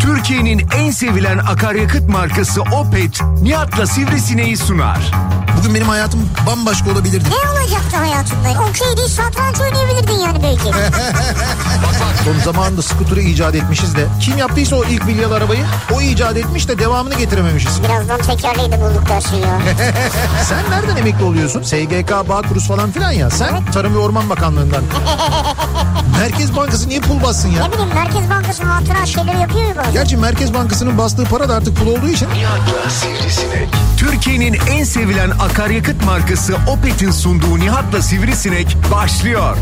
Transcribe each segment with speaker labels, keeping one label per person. Speaker 1: Türkiye'nin en sevilen akaryakıt markası Opet, Nihat'la Sivrisine'yi sunar.
Speaker 2: Bugün benim hayatım bambaşka olabilirdi.
Speaker 3: Ne olacaktı hayatında? Okey değil satranç oynayabilirdin yani belki.
Speaker 2: Son zamanında skuturu icat etmişiz de. Kim yaptıysa o ilk bilyalı arabayı o icat etmiş de devamını getirememişiz.
Speaker 3: Birazdan tekerleği de bulduk dersin ya.
Speaker 2: Sen nereden emekli oluyorsun? SGK, Bağkuruz falan filan ya. Sen Tarım ve Orman Bakanlığından. Merkez Bankası niye pul bassın ya?
Speaker 3: ne bileyim Merkez Bankası'nın hatıra şeyleri yapıyor ya bazen.
Speaker 2: Gerçi Merkez Bankası'nın bastığı para da artık pul olduğu için
Speaker 1: Nihat'la Sivrisinek. Türkiye'nin en sevilen akaryakıt markası Opet'in sunduğu Nihat'la Sivrisinek başlıyor.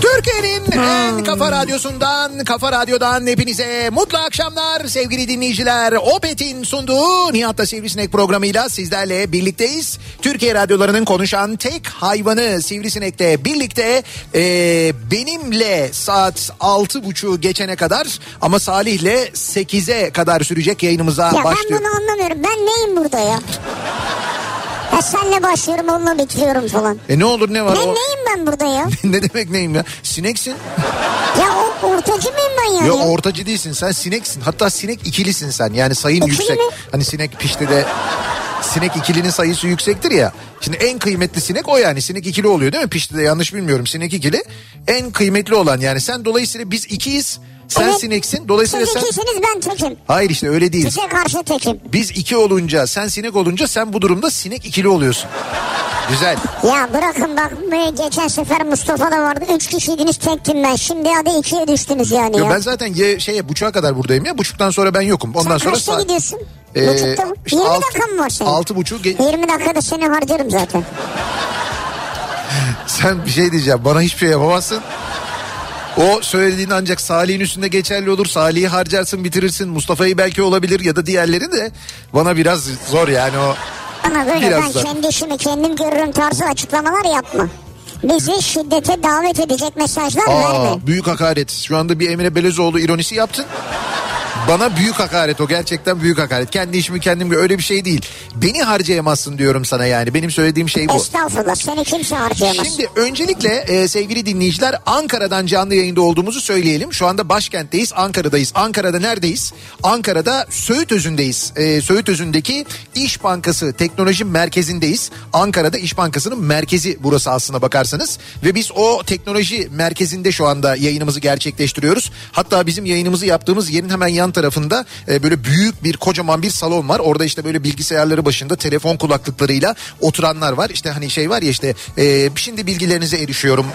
Speaker 2: Türkiye'nin
Speaker 3: Hmm.
Speaker 2: en kafa radyosundan, kafa radyodan hepinize mutlu akşamlar sevgili dinleyiciler. Opet'in sunduğu Nihat'ta Sivrisinek programıyla sizlerle birlikteyiz. Türkiye radyolarının konuşan tek hayvanı Sivrisinek'le birlikte e, benimle saat altı buçuğu geçene kadar ama Salih'le 8'e kadar sürecek yayınımıza
Speaker 3: Ya ben
Speaker 2: başlıyor.
Speaker 3: bunu anlamıyorum. Ben neyim burada ya? Ya senle başlıyorum onunla bitiriyorum falan.
Speaker 2: E ne olur ne var
Speaker 3: Ben
Speaker 2: o?
Speaker 3: neyim ben burada ya?
Speaker 2: ne demek neyim ya? Sineksin.
Speaker 3: Ya o ortacı mıyım ben yani?
Speaker 2: Yok ortacı değilsin sen sineksin. Hatta sinek ikilisin sen. Yani sayın
Speaker 3: İkili
Speaker 2: yüksek.
Speaker 3: mi?
Speaker 2: Hani sinek pişti de sinek ikilinin sayısı yüksektir ya. Şimdi en kıymetli sinek o yani. Sinek ikili oluyor değil mi? Pişti de yanlış bilmiyorum. Sinek ikili en kıymetli olan yani. Sen dolayısıyla biz ikiyiz. Sen
Speaker 3: Evet.
Speaker 2: sineksin. Dolayısıyla
Speaker 3: Siz
Speaker 2: sen...
Speaker 3: ikisiniz ben tekim.
Speaker 2: Hayır işte öyle değil.
Speaker 3: Size karşı tekim.
Speaker 2: Biz iki olunca sen sinek olunca sen bu durumda sinek ikili oluyorsun. Güzel.
Speaker 3: Ya bırakın bak bu geçen sefer Mustafa da vardı. Üç kişiydiniz tektim ben. Şimdi hadi ikiye düştünüz yani
Speaker 2: Yo,
Speaker 3: ya.
Speaker 2: ben zaten ye, şeye buçuğa kadar buradayım ya. Buçuktan sonra ben yokum. Ondan
Speaker 3: Sen
Speaker 2: sonra
Speaker 3: kaçta
Speaker 2: saat-
Speaker 3: gidiyorsun?
Speaker 2: Ee,
Speaker 3: Buçukta mı?
Speaker 2: işte
Speaker 3: 20
Speaker 2: altı-
Speaker 3: dakika mı var senin?
Speaker 2: Altı buçuğu ge-
Speaker 3: 20 dakikada seni harcarım zaten.
Speaker 2: Sen bir şey diyeceğim bana hiçbir şey yapamazsın. O söylediğin ancak Salih'in üstünde geçerli olur. Salih'i harcarsın bitirirsin. Mustafa'yı belki olabilir ya da diğerleri de bana biraz zor yani o.
Speaker 3: Ama böyle
Speaker 2: Biraz
Speaker 3: ben
Speaker 2: da.
Speaker 3: kendi işimi kendim görürüm tarzı açıklamalar yapma. Bizi şiddete davet edecek mesajlar verme.
Speaker 2: Aa, büyük hakaret. Şu anda bir Emre Belözoğlu ironisi yaptın. Bana büyük hakaret o gerçekten büyük hakaret. Kendi işimi kendim öyle bir şey değil. Beni harcayamazsın diyorum sana yani. Benim söylediğim şey bu.
Speaker 3: Estağfurullah seni kimse harcayamaz.
Speaker 2: Şimdi öncelikle e, sevgili dinleyiciler Ankara'dan canlı yayında olduğumuzu söyleyelim. Şu anda başkentteyiz, Ankara'dayız. Ankara'da neredeyiz? Ankara'da Söğütözü'ndeyiz. E, Söğütözü'ndeki İş Bankası Teknoloji Merkezi'ndeyiz. Ankara'da İş Bankası'nın merkezi burası aslına bakarsanız. Ve biz o teknoloji merkezinde şu anda yayınımızı gerçekleştiriyoruz. Hatta bizim yayınımızı yaptığımız yerin hemen yan tarafında e, böyle büyük bir kocaman bir salon var. Orada işte böyle bilgisayarları başında telefon kulaklıklarıyla oturanlar var. İşte hani şey var ya işte e, şimdi bilgilerinize erişiyorum.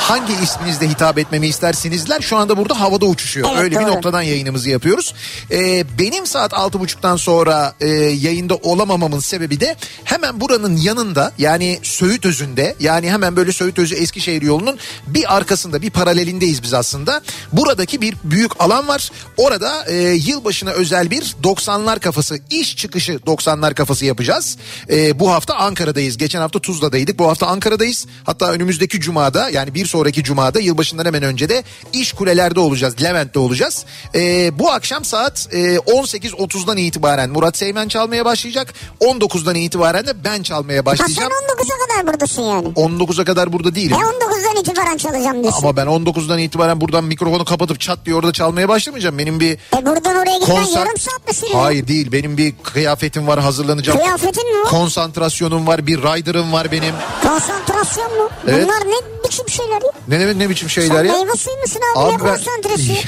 Speaker 2: Hangi isminizle hitap etmemi istersinizler şu anda burada havada uçuşuyor.
Speaker 3: Evet,
Speaker 2: Öyle bir
Speaker 3: doğru.
Speaker 2: noktadan yayınımızı yapıyoruz. E, benim saat altı buçuktan sonra e, yayında olamamamın sebebi de hemen buranın yanında yani Söğütözü'nde yani hemen böyle Söğütözü Eskişehir yolunun bir arkasında bir paralelindeyiz biz aslında. Buradaki bir büyük alan var. Orada e, yılbaşına özel bir 90'lar kafası iş çıkışı 90'lar kafası yapacağız. E, bu hafta Ankara'dayız. Geçen hafta Tuzla'daydık. Bu hafta Ankara'dayız. Hatta önümüzdeki cumada yani bir sonraki cumada yılbaşından hemen önce de iş kulelerde olacağız. Levent'te olacağız. E, bu akşam saat e, 18.30'dan itibaren Murat Seymen çalmaya başlayacak. 19'dan itibaren de ben çalmaya
Speaker 3: Ha sen
Speaker 2: başlayacağım.
Speaker 3: 19'a kadar buradasın yani.
Speaker 2: 19'a kadar burada
Speaker 3: E
Speaker 2: değilim.
Speaker 3: 19'dan itibaren çalacağım diyorsun.
Speaker 2: Ama ben 19'dan itibaren buradan mikrofonu kapatıp çat diye orada çalmaya başlamayacağım. Benim bir
Speaker 3: E buradan oraya gitmen
Speaker 2: konser...
Speaker 3: yarım saat mi sürüyor?
Speaker 2: Hayır değil benim bir kıyafetim var hazırlanacağım.
Speaker 3: Kıyafetin mi? var?
Speaker 2: Konsantrasyonum var bir rider'ım var benim.
Speaker 3: Konsantrasyon mu?
Speaker 2: Evet.
Speaker 3: Bunlar ne biçim şeyler ya?
Speaker 2: Ne ne, ne biçim
Speaker 3: Sen
Speaker 2: şeyler ya?
Speaker 3: meyve suyu musun abi, ne konsantresi?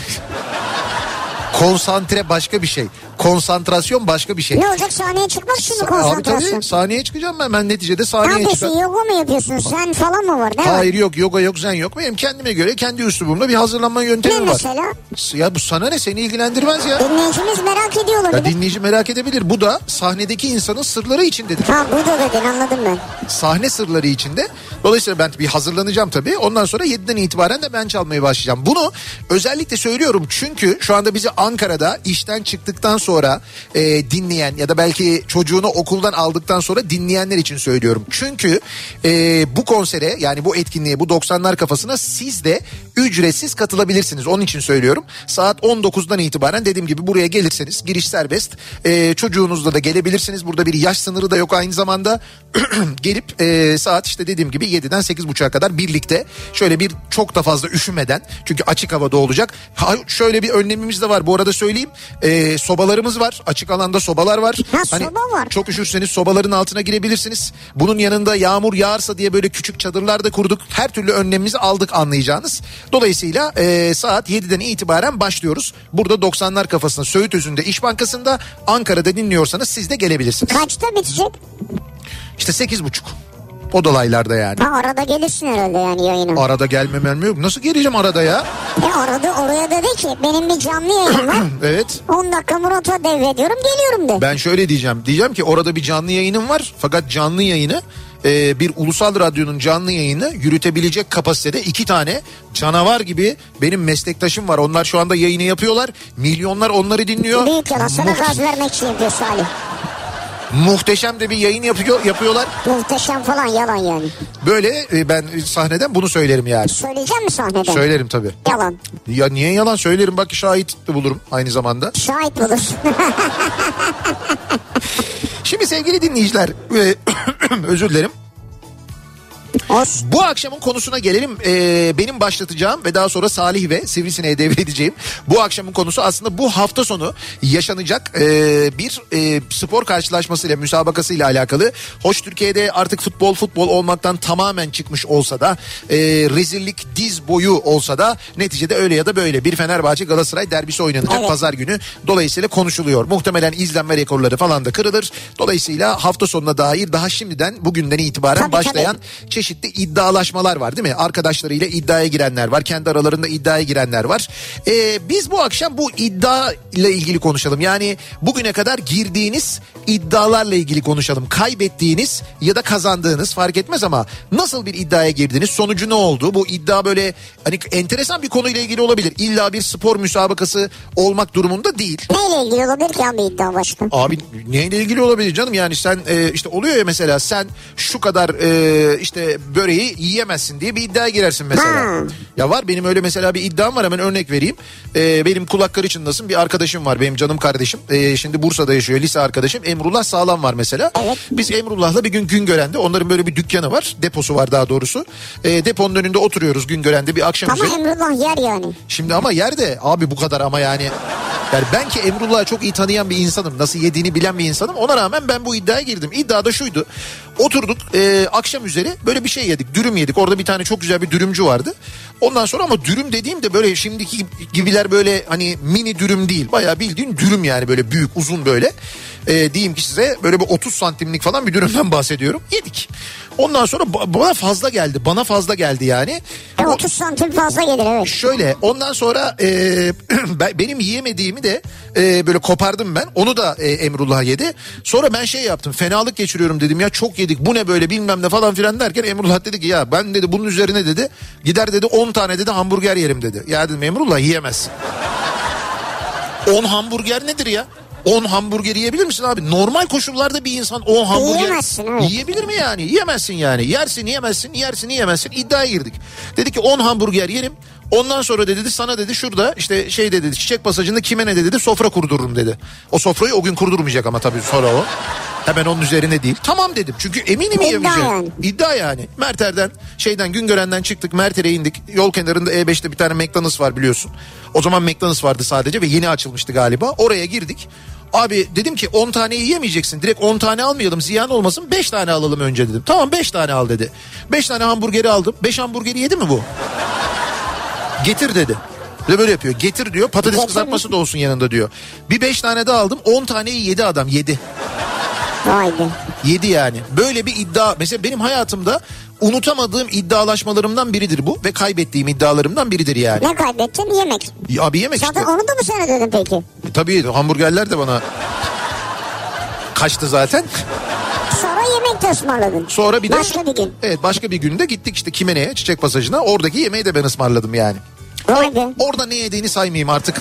Speaker 2: Konsantre başka bir şey. Konsantrasyon başka bir şey.
Speaker 3: Ne olacak sahneye çıkmaz şimdi
Speaker 2: Sa- Abi
Speaker 3: konsantrasyon.
Speaker 2: tabii sahneye çıkacağım ben. Ben neticede
Speaker 3: Ne
Speaker 2: sahneye
Speaker 3: yapıyorsun
Speaker 2: çıkacağım.
Speaker 3: yoga mı yapıyorsun sen falan mı var değil mi?
Speaker 2: Hayır yok yoga yok zen yok. Benim kendime göre kendi üslubumda bir hazırlanma
Speaker 3: Ne
Speaker 2: yöntemim var.
Speaker 3: mesela?
Speaker 2: Ya bu sana ne seni ilgilendirmez ya.
Speaker 3: Dinleyicimiz merak ediyor
Speaker 2: Ya
Speaker 3: olabilir.
Speaker 2: dinleyici merak edebilir. Bu da sahnedeki insanın sırları içindedir.
Speaker 3: Ha bu da dedin anladım ben.
Speaker 2: Sahne sırları içinde. Dolayısıyla ben bir hazırlanacağım tabii. Ondan sonra 7'den itibaren de ben çalmaya başlayacağım. Bunu özellikle söylüyorum çünkü şu anda bizi Ankara'da işten çıktıktan sonra e, dinleyen ya da belki çocuğunu okuldan aldıktan sonra dinleyenler için söylüyorum. Çünkü e, bu konsere yani bu etkinliğe bu 90'lar kafasına siz de ücretsiz katılabilirsiniz. Onun için söylüyorum. Saat 19'dan itibaren dediğim gibi buraya gelirseniz giriş serbest. Ee, çocuğunuzla da gelebilirsiniz. Burada bir yaş sınırı da yok aynı zamanda. Gelip e, saat işte dediğim gibi 7'den 8.30'a kadar birlikte şöyle bir çok da fazla üşümeden çünkü açık havada olacak. Ha, şöyle bir önlemimiz de var bu arada söyleyeyim. Ee, sobalarımız var. Açık alanda sobalar var. Hani
Speaker 3: Ha, soba var.
Speaker 2: Çok üşürseniz sobaların altına girebilirsiniz. Bunun yanında yağmur yağarsa diye böyle küçük çadırlar da kurduk. Her türlü önlemimizi aldık anlayacağınız. Dolayısıyla e, saat 7'den itibaren başlıyoruz. Burada 90'lar kafasında Söğüt Özü'nde İş Bankası'nda Ankara'da dinliyorsanız siz de gelebilirsiniz.
Speaker 3: Kaçta bitecek?
Speaker 2: İşte 8.30 o dolaylarda yani.
Speaker 3: Ha arada gelirsin herhalde yani yayına.
Speaker 2: Arada gelmemem yok. Nasıl geleceğim arada ya?
Speaker 3: E arada oraya da de ki benim bir canlı yayınım var.
Speaker 2: Evet.
Speaker 3: 10 dakika Murat'a devrediyorum geliyorum de.
Speaker 2: Ben şöyle diyeceğim. Diyeceğim ki orada bir canlı yayınım var. Fakat canlı yayını e, bir ulusal radyonun canlı yayını yürütebilecek kapasitede iki tane canavar gibi benim meslektaşım var. Onlar şu anda yayını yapıyorlar. Milyonlar onları dinliyor.
Speaker 3: Büyük yalan sana
Speaker 2: Muht-
Speaker 3: gaz vermek için yapıyor Salih.
Speaker 2: muhteşem de bir yayın yapıyor yapıyorlar.
Speaker 3: Muhteşem falan yalan yani.
Speaker 2: Böyle e, ben sahneden bunu söylerim yani.
Speaker 3: Söyleyecek mi sahneden?
Speaker 2: Söylerim tabii.
Speaker 3: Yalan.
Speaker 2: Ya niye yalan söylerim bak şahit de bulurum aynı zamanda.
Speaker 3: Şahit bulursun.
Speaker 2: Şimdi sevgili dinleyiciler e, özür dilerim.
Speaker 3: Olsun.
Speaker 2: Bu akşamın konusuna gelelim. Ee, benim başlatacağım ve daha sonra Salih ve Sivrisine'ye devredeceğim. Bu akşamın konusu aslında bu hafta sonu yaşanacak e, bir e, spor karşılaşmasıyla, müsabakasıyla alakalı. Hoş Türkiye'de artık futbol futbol olmaktan tamamen çıkmış olsa da e, rezillik diz boyu olsa da neticede öyle ya da böyle bir Fenerbahçe Galatasaray derbisi oynanacak
Speaker 3: Evet.
Speaker 2: pazar günü. Dolayısıyla konuşuluyor. Muhtemelen izlenme rekorları falan da kırılır. Dolayısıyla hafta sonuna dair daha şimdiden bugünden itibaren
Speaker 3: Tabii,
Speaker 2: başlayan
Speaker 3: tabii.
Speaker 2: çeşitli iddialaşmalar var değil mi? Arkadaşlarıyla iddiaya girenler var. Kendi aralarında iddiaya girenler var. Ee, biz bu akşam bu iddia ile ilgili konuşalım. Yani bugüne kadar girdiğiniz iddialarla ilgili konuşalım. Kaybettiğiniz ya da kazandığınız fark etmez ama nasıl bir iddiaya girdiniz? Sonucu ne oldu? Bu iddia böyle hani enteresan bir konuyla ilgili olabilir. İlla bir spor müsabakası olmak durumunda değil.
Speaker 3: Neyle ilgili olabilir ki abi iddia başka?
Speaker 2: Abi neyle ilgili olabilir canım yani sen e, işte oluyor ya mesela sen şu kadar e, işte böreği yiyemezsin diye bir iddiaya girersin mesela.
Speaker 3: Ha.
Speaker 2: Ya var benim öyle mesela bir iddiam var hemen örnek vereyim. E, benim kulak karıçındasın bir arkadaşım var benim canım kardeşim. E, şimdi Bursa'da yaşıyor lise arkadaşım Emrullah Sağlam var mesela.
Speaker 3: Evet.
Speaker 2: Biz Emrullah'la bir gün Güngören'de onların böyle bir dükkanı var deposu var daha doğrusu. E, deponun önünde oturuyoruz Güngören'de bir akşam
Speaker 3: Ama
Speaker 2: üzeri.
Speaker 3: Emrullah yer yani.
Speaker 2: Şimdi ama yerde abi bu kadar ama yani. Yani ben ki Emrullah'ı çok iyi tanıyan bir insanım. Nasıl yediğini bilen bir insanım. Ona rağmen ben bu iddiaya girdim. İddia da şuydu. Oturduk e, akşam üzeri böyle bir şey yedik. Dürüm yedik. Orada bir tane çok güzel bir dürümcü vardı. Ondan sonra ama dürüm dediğim de böyle şimdiki gibiler böyle hani mini dürüm değil. Bayağı bildiğin dürüm yani böyle büyük uzun böyle. E, diyeyim ki size böyle bir 30 santimlik falan bir dürümden bahsediyorum. Yedik. Ondan sonra ba- bana fazla geldi. Bana fazla geldi yani.
Speaker 3: E,
Speaker 2: O-
Speaker 3: 30 santim fazla gelir evet.
Speaker 2: Şöyle ondan sonra e, ben- benim yiyemediğimi de e, böyle kopardım ben. Onu da e, Emrullah yedi. Sonra ben şey yaptım fenalık geçiriyorum dedim ya çok yedik bu ne böyle bilmem ne falan filan derken Emrullah dedi ki ya ben dedi bunun üzerine dedi gider dedi 10 tane dedi hamburger yerim dedi. Ya dedim Emrullah yiyemezsin. 10 hamburger nedir ya? 10 hamburger yiyebilir misin abi? Normal koşullarda bir insan 10 hamburger
Speaker 3: Yiyemezsin, evet.
Speaker 2: yiyebilir mi yani? Yiyemezsin yani. Yersin yiyemezsin, yersin yiyemezsin. İddiaya girdik. Dedi ki 10 hamburger yerim. Ondan sonra da dedi sana dedi şurada işte şey de dedi çiçek pasajında kime ne de dedi sofra kurdururum dedi. O sofrayı o gün kurdurmayacak ama tabii sonra o. Hemen onun üzerine değil. Tamam dedim çünkü eminim
Speaker 3: İddia
Speaker 2: yiyemeyeceğim.
Speaker 3: yani.
Speaker 2: İddia yani. Merter'den şeyden Güngören'den çıktık Merter'e indik. Yol kenarında E5'te bir tane McDonald's var biliyorsun. O zaman McDonald's vardı sadece ve yeni açılmıştı galiba. Oraya girdik. Abi dedim ki 10 tane yiyemeyeceksin. Direkt 10 tane almayalım ziyan olmasın. 5 tane alalım önce dedim. Tamam 5 tane al dedi. 5 tane hamburgeri aldım. 5 hamburgeri yedi mi bu? Getir dedi. Bir de böyle yapıyor. Getir diyor patates
Speaker 3: Getir.
Speaker 2: kızartması da olsun yanında diyor. Bir beş tane daha aldım 10 taneyi yedi adam yedi.
Speaker 3: Vay be.
Speaker 2: Yedi yani. Böyle bir iddia. Mesela benim hayatımda unutamadığım iddialaşmalarımdan biridir bu. Ve kaybettiğim iddialarımdan biridir yani.
Speaker 3: Ne kaybettin? Yemek.
Speaker 2: Ya Abi yemek işte.
Speaker 3: Zaten onu da mı sen ödedin peki?
Speaker 2: E, Tabii hamburgerler de bana kaçtı zaten.
Speaker 3: Sonra yemek de ısmarladın.
Speaker 2: Sonra bir de...
Speaker 3: Başka bir gün.
Speaker 2: Evet başka bir günde gittik işte Kimene'ye çiçek pasajına. Oradaki yemeği de ben ısmarladım yani.
Speaker 3: Vay be.
Speaker 2: Orada ne yediğini saymayayım artık.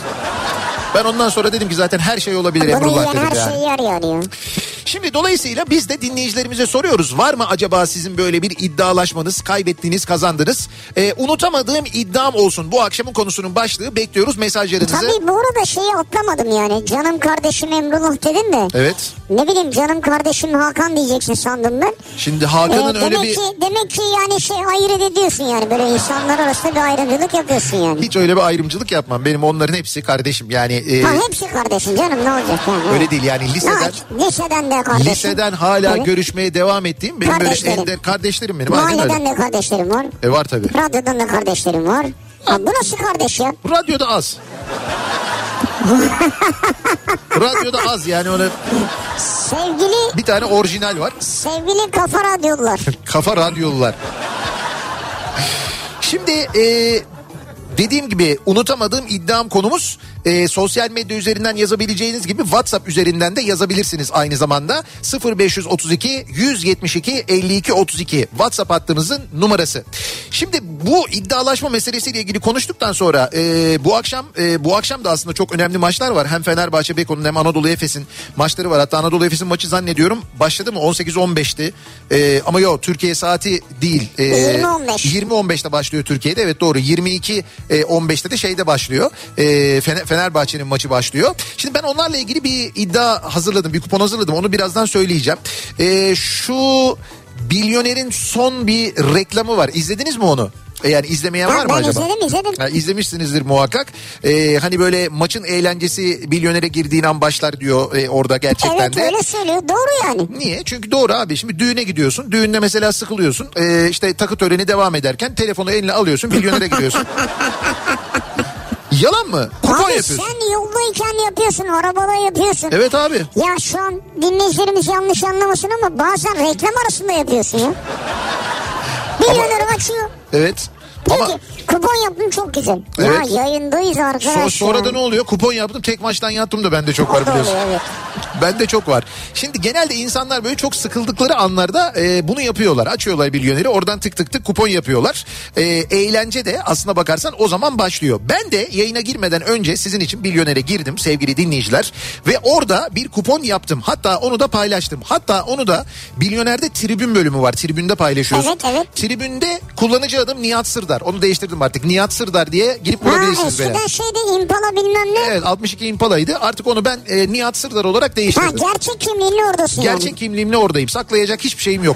Speaker 2: Ben ondan sonra dedim ki zaten her şey olabilir
Speaker 3: Bunu
Speaker 2: Emrullah
Speaker 3: yiyen
Speaker 2: dedim
Speaker 3: her şey
Speaker 2: yani.
Speaker 3: şeyi yer yani.
Speaker 2: Şimdi dolayısıyla biz de dinleyicilerimize soruyoruz. Var mı acaba sizin böyle bir iddialaşmanız, kaybettiğiniz, kazandınız? Ee, unutamadığım iddiam olsun. Bu akşamın konusunun başlığı bekliyoruz mesajlarınızı.
Speaker 3: Tabii bu arada şeyi atlamadım yani. Canım kardeşim Emrullah dedin de.
Speaker 2: Evet.
Speaker 3: Ne bileyim canım kardeşim Hakan diyeceksin sandım ben.
Speaker 2: Şimdi
Speaker 3: Ee,
Speaker 2: Hakan'ın öyle
Speaker 3: demek,
Speaker 2: bir...
Speaker 3: ki, demek ki yani şey ayrı ediyorsun yani. Böyle insanlar arasında bir ayrımcılık yapıyorsun yani.
Speaker 2: Hiç öyle bir ayrımcılık yapmam. Benim onların hepsi kardeşim. Yani e,
Speaker 3: Ha hepsi kardeşim canım ne olacak yani.
Speaker 2: öyle değil yani liseden...
Speaker 3: Ne, liseden de kardeşim.
Speaker 2: Liseden hala
Speaker 3: Evet.
Speaker 2: görüşmeye devam ettiğim benim böyle
Speaker 3: Kardeşlerim.
Speaker 2: ender kardeşlerim benim. Aynen öyle.
Speaker 3: Mahalleden de kardeşlerim var.
Speaker 2: E var tabii.
Speaker 3: Radyodan da kardeşlerim var. Ha, bu nasıl kardeş ya?
Speaker 2: Radyoda az. Radyoda az yani öyle
Speaker 3: Sevgili
Speaker 2: bir tane orijinal var.
Speaker 3: sevgili kafa radyolar.
Speaker 2: Kafa radyolular. Şimdi e, dediğim gibi unutamadığım iddiam konumuz e, sosyal medya üzerinden yazabileceğiniz gibi WhatsApp üzerinden de yazabilirsiniz aynı zamanda 0532 172 52 32 WhatsApp hattımızın numarası. Şimdi bu iddialaşma meselesiyle ilgili konuştuktan sonra e, bu akşam e, bu akşam da aslında çok önemli maçlar var. Hem Fenerbahçe Beko'nun hem Anadolu Efes'in maçları var. Hatta Anadolu Efes'in maçı zannediyorum başladı mı 18-15'ti. E, ama yok Türkiye saati değil. E,
Speaker 3: 20-15.
Speaker 2: 20-15'te başlıyor Türkiye'de evet doğru 22-15'te de şeyde başlıyor E, Fener- Fenerbahçe'nin maçı başlıyor. Şimdi ben onlarla ilgili bir iddia hazırladım bir kupon hazırladım onu birazdan söyleyeceğim. E, şu Bilyoner'in son bir reklamı var izlediniz mi onu? E, Yani izlemeyen var
Speaker 3: Ha,
Speaker 2: mı
Speaker 3: ben
Speaker 2: acaba?
Speaker 3: izledim izledim.
Speaker 2: Ha, izlemişsinizdir muhakkak. E, hani böyle maçın eğlencesi Bilyoner'e girdiğin an başlar diyor e, orada gerçekten
Speaker 3: Evet
Speaker 2: de.
Speaker 3: öyle söylüyor doğru yani.
Speaker 2: Niye? Çünkü doğru abi. Şimdi düğüne gidiyorsun. Düğünde mesela sıkılıyorsun. Ee, işte takı töreni devam ederken telefonu eline alıyorsun. Milyonere gidiyorsun. Yalan mı? Kupon
Speaker 3: Abi
Speaker 2: yapıyorsun.
Speaker 3: sen yoldayken yapıyorsun arabada yapıyorsun.
Speaker 2: Evet abi.
Speaker 3: Ya şu an dinleyicilerimiz yanlış anlamasın ama bazen reklam arasında yapıyorsun ya. Milyonerim açıyor.
Speaker 2: Evet.
Speaker 3: Diyor
Speaker 2: Ama
Speaker 3: ki kupon yaptım çok güzel.
Speaker 2: Evet.
Speaker 3: Ya yayındayız arkadaş.
Speaker 2: so-
Speaker 3: ya.
Speaker 2: sonra da ne oluyor? Kupon yaptım. Tek maçtan yattım da bende çok
Speaker 3: O da
Speaker 2: var biliyorsun.
Speaker 3: oluyor, evet.
Speaker 2: Bende çok var. Şimdi genelde insanlar böyle çok sıkıldıkları anlarda e, bunu yapıyorlar. Açıyorlar milyoneri oradan tık tık tık kupon yapıyorlar. E, eğlence de aslına bakarsan o zaman başlıyor. Ben de yayına girmeden önce sizin için milyonere girdim sevgili dinleyiciler. Ve orada bir kupon yaptım. Hatta onu da paylaştım. Hatta onu da milyonerde tribün bölümü var. Tribünde paylaşıyorsun.
Speaker 3: Evet, evet.
Speaker 2: Tribünde kullanıcı adım Nihat Sırdar. Onu değiştirdim artık. Nihat Sırdar diye girip
Speaker 3: Ha
Speaker 2: bulabilirsiniz beni.
Speaker 3: eskiden şeyde impala bilmem ne.
Speaker 2: Evet 62 Impala'ydı. Artık onu ben e, Nihat Sırdar olarak
Speaker 3: Ha
Speaker 2: değiştirdim.
Speaker 3: gerçek kimliğinle oradasın yani.
Speaker 2: Gerçek kimliğimle oradayım. Saklayacak hiçbir şeyim yok.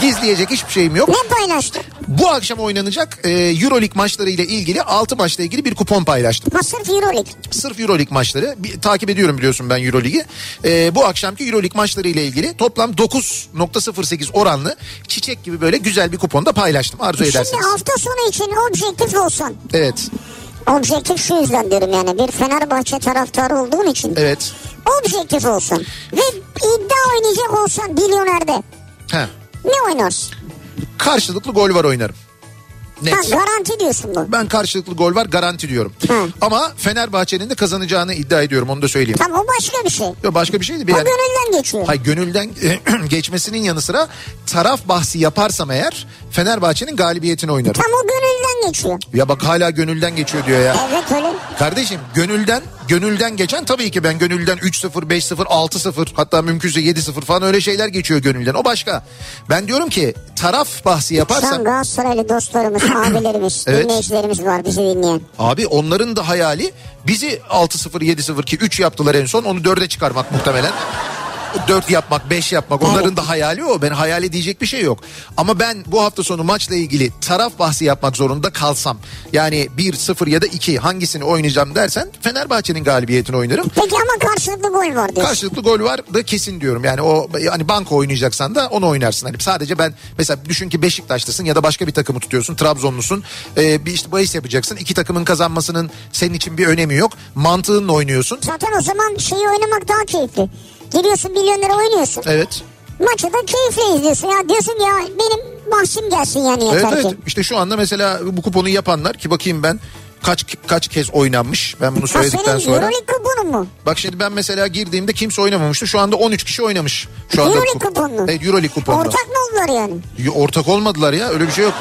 Speaker 2: Gizleyecek hiçbir şeyim yok.
Speaker 3: Ne paylaştın?
Speaker 2: Bu akşam oynanacak e, Euroleague maçları ile ilgili 6 maçla ilgili bir kupon paylaştım.
Speaker 3: Ha sırf Euroleague.
Speaker 2: Sırf Euroleague maçları. Bir, takip ediyorum biliyorsun ben Euroleague'i. E, bu akşamki Euroleague maçları ile ilgili toplam 9.08 oranlı çiçek gibi böyle güzel bir kupon da paylaştım. Arzu
Speaker 3: Şimdi
Speaker 2: ederseniz.
Speaker 3: hafta sonu için objektif olsan.
Speaker 2: Evet.
Speaker 3: Objektif şu yüzden diyorum yani bir Fenerbahçe taraftarı olduğun için.
Speaker 2: Evet.
Speaker 3: Objektif olsan. Ve iddia oynayacak olsan milyonerde.
Speaker 2: Ha.
Speaker 3: Ne oynarsın?
Speaker 2: Karşılıklı gol var oynarım. Net.
Speaker 3: Ha, garanti diyorsun bu.
Speaker 2: Ben karşılıklı gol var garanti diyorum.
Speaker 3: Hı.
Speaker 2: Ama Fenerbahçe'nin de kazanacağını iddia ediyorum onu da söyleyeyim.
Speaker 3: Tamam o başka bir şey.
Speaker 2: Yok başka bir şey değil.
Speaker 3: O
Speaker 2: Yani,
Speaker 3: gönülden geçiyor.
Speaker 2: hay gönülden geçmesinin yanı sıra taraf bahsi yaparsam eğer Fenerbahçe'nin galibiyetini oynarım.
Speaker 3: Tam o gönülden geçiyor.
Speaker 2: Ya bak hala gönülden geçiyor diyor ya.
Speaker 3: Evet öyle.
Speaker 2: Kardeşim gönülden gönülden geçen tabii ki ben gönülden 3-0, 5-0, 6-0 hatta mümkünse 7-0 falan öyle şeyler geçiyor gönülden. O başka. Ben diyorum ki taraf bahsi
Speaker 3: Şu an
Speaker 2: yaparsam
Speaker 3: Galatasaraylı dostlarımız, abilerimiz,
Speaker 2: Evet.
Speaker 3: dinleyicilerimiz var bizi dinleyen.
Speaker 2: Abi onların da hayali bizi 6-0 7-0 ki 3 yaptılar en son onu 4'e çıkarmak muhtemelen. Dört yapmak, beş yapmak onların da hayali o. Ben hayali diyecek bir şey yok. Ama ben bu hafta sonu maçla ilgili taraf bahsi yapmak zorunda kalsam. Yani 1-0 ya da 2 hangisini oynayacağım dersen Fenerbahçe'nin galibiyetini oynarım.
Speaker 3: Peki ama karşılıklı gol var diyorsun.
Speaker 2: Karşılıklı gol var da kesin diyorum. Yani o hani banko oynayacaksan da onu oynarsın. Hani sadece ben mesela düşün ki Beşiktaşlısın ya da başka bir takımı tutuyorsun. Trabzonlusun. Ee, bir işte bahis yapacaksın. İki takımın kazanmasının senin için bir önemi yok. Mantığınla oynuyorsun.
Speaker 3: Zaten o zaman şeyi oynamak daha keyifli. Giriyorsun milyon lira oynuyorsun.
Speaker 2: Evet.
Speaker 3: Maçı da keyifle izliyorsun ya. Diyorsun ki, ya benim bahşim gelsin yani
Speaker 2: Evet,
Speaker 3: yeter
Speaker 2: evet.
Speaker 3: ki.
Speaker 2: İşte şu anda mesela bu kuponu yapanlar ki bakayım ben kaç kaç kez oynanmış. Ben bunu
Speaker 3: Ha
Speaker 2: söyledikten
Speaker 3: senin
Speaker 2: sonra.
Speaker 3: Euroleague kuponu mu?
Speaker 2: Bak şimdi ben mesela girdiğimde kimse oynamamıştı. Şu anda 13 kişi oynamış. Şu anda
Speaker 3: Euroleague
Speaker 2: kup-
Speaker 3: kuponlu.
Speaker 2: Evet Euroleague kuponlu.
Speaker 3: Ortak mı oldular yani?
Speaker 2: Y- Ortak olmadılar ya öyle bir şey yok.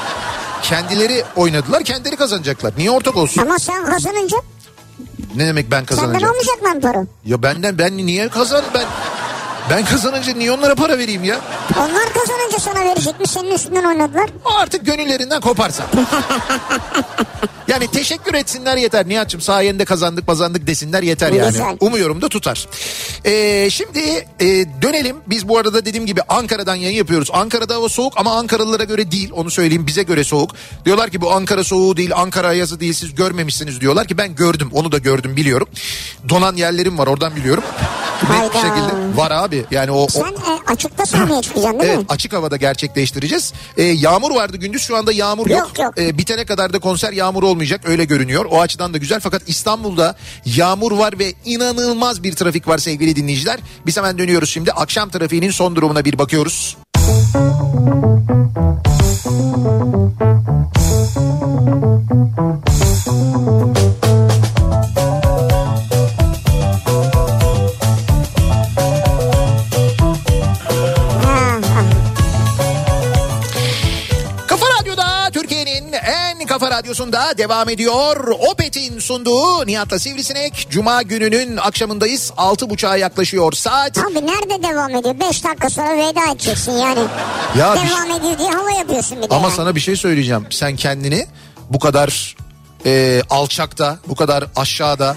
Speaker 2: Kendileri oynadılar kendileri kazanacaklar. Niye ortak olsun?
Speaker 3: Ama sen kazanınca
Speaker 2: Ne demek ben
Speaker 3: senden
Speaker 2: kazanacağım?
Speaker 3: olmayacak lan para.
Speaker 2: Ya benden ben niye kazan ben ben kazanınca niye onlara para vereyim ya?
Speaker 3: Onlar kazanınca sana verecekmiş senin üstünden oynadılar.
Speaker 2: Artık gönüllerinden koparsan. yani teşekkür etsinler yeter. Nihat'cığım sayende kazandık kazandık desinler yeter yani.
Speaker 3: Güzel.
Speaker 2: Umuyorum da tutar. Ee, şimdi e, dönelim. Biz bu arada dediğim gibi Ankara'dan yayın yapıyoruz. Ankara'da hava soğuk ama Ankaralılara göre değil. Onu söyleyeyim bize göre soğuk. Diyorlar ki bu Ankara soğuğu değil Ankara yazı değil siz görmemişsiniz diyorlar ki ben gördüm. Onu da gördüm biliyorum. Donan yerlerim var oradan biliyorum. Net bir
Speaker 3: Hayda.
Speaker 2: şekilde var abi. Yani o, o
Speaker 3: Sen e, açıkta sahneye çıkacaksın değil
Speaker 2: Evet
Speaker 3: mi?
Speaker 2: açık havada gerçekleştireceğiz. Ee, yağmur vardı gündüz şu anda yağmur yok.
Speaker 3: Yok, yok.
Speaker 2: Ee, bitene kadar da konser yağmur olmayacak öyle görünüyor. O açıdan da güzel fakat İstanbul'da yağmur var ve inanılmaz bir trafik var sevgili dinleyiciler. Biz hemen dönüyoruz şimdi akşam trafiğinin son durumuna bir bakıyoruz.
Speaker 3: Ha, ha.
Speaker 2: Kafa Radyo'da Türkiye'nin en kafa radyosunda devam ediyor. Opet'in sunduğu Nihat'la Sivrisinek. Cuma gününün akşamındayız. 6.30'a yaklaşıyor saat.
Speaker 3: Abi nerede devam ediyor? 5 dakika sonra veda edeceksin yani.
Speaker 2: Ya bir-
Speaker 3: devam ediyor diye hava yapıyorsun bir de.
Speaker 2: Ama
Speaker 3: ya.
Speaker 2: sana bir şey söyleyeceğim. Sen kendini bu kadar e, alçakta, bu kadar aşağıda,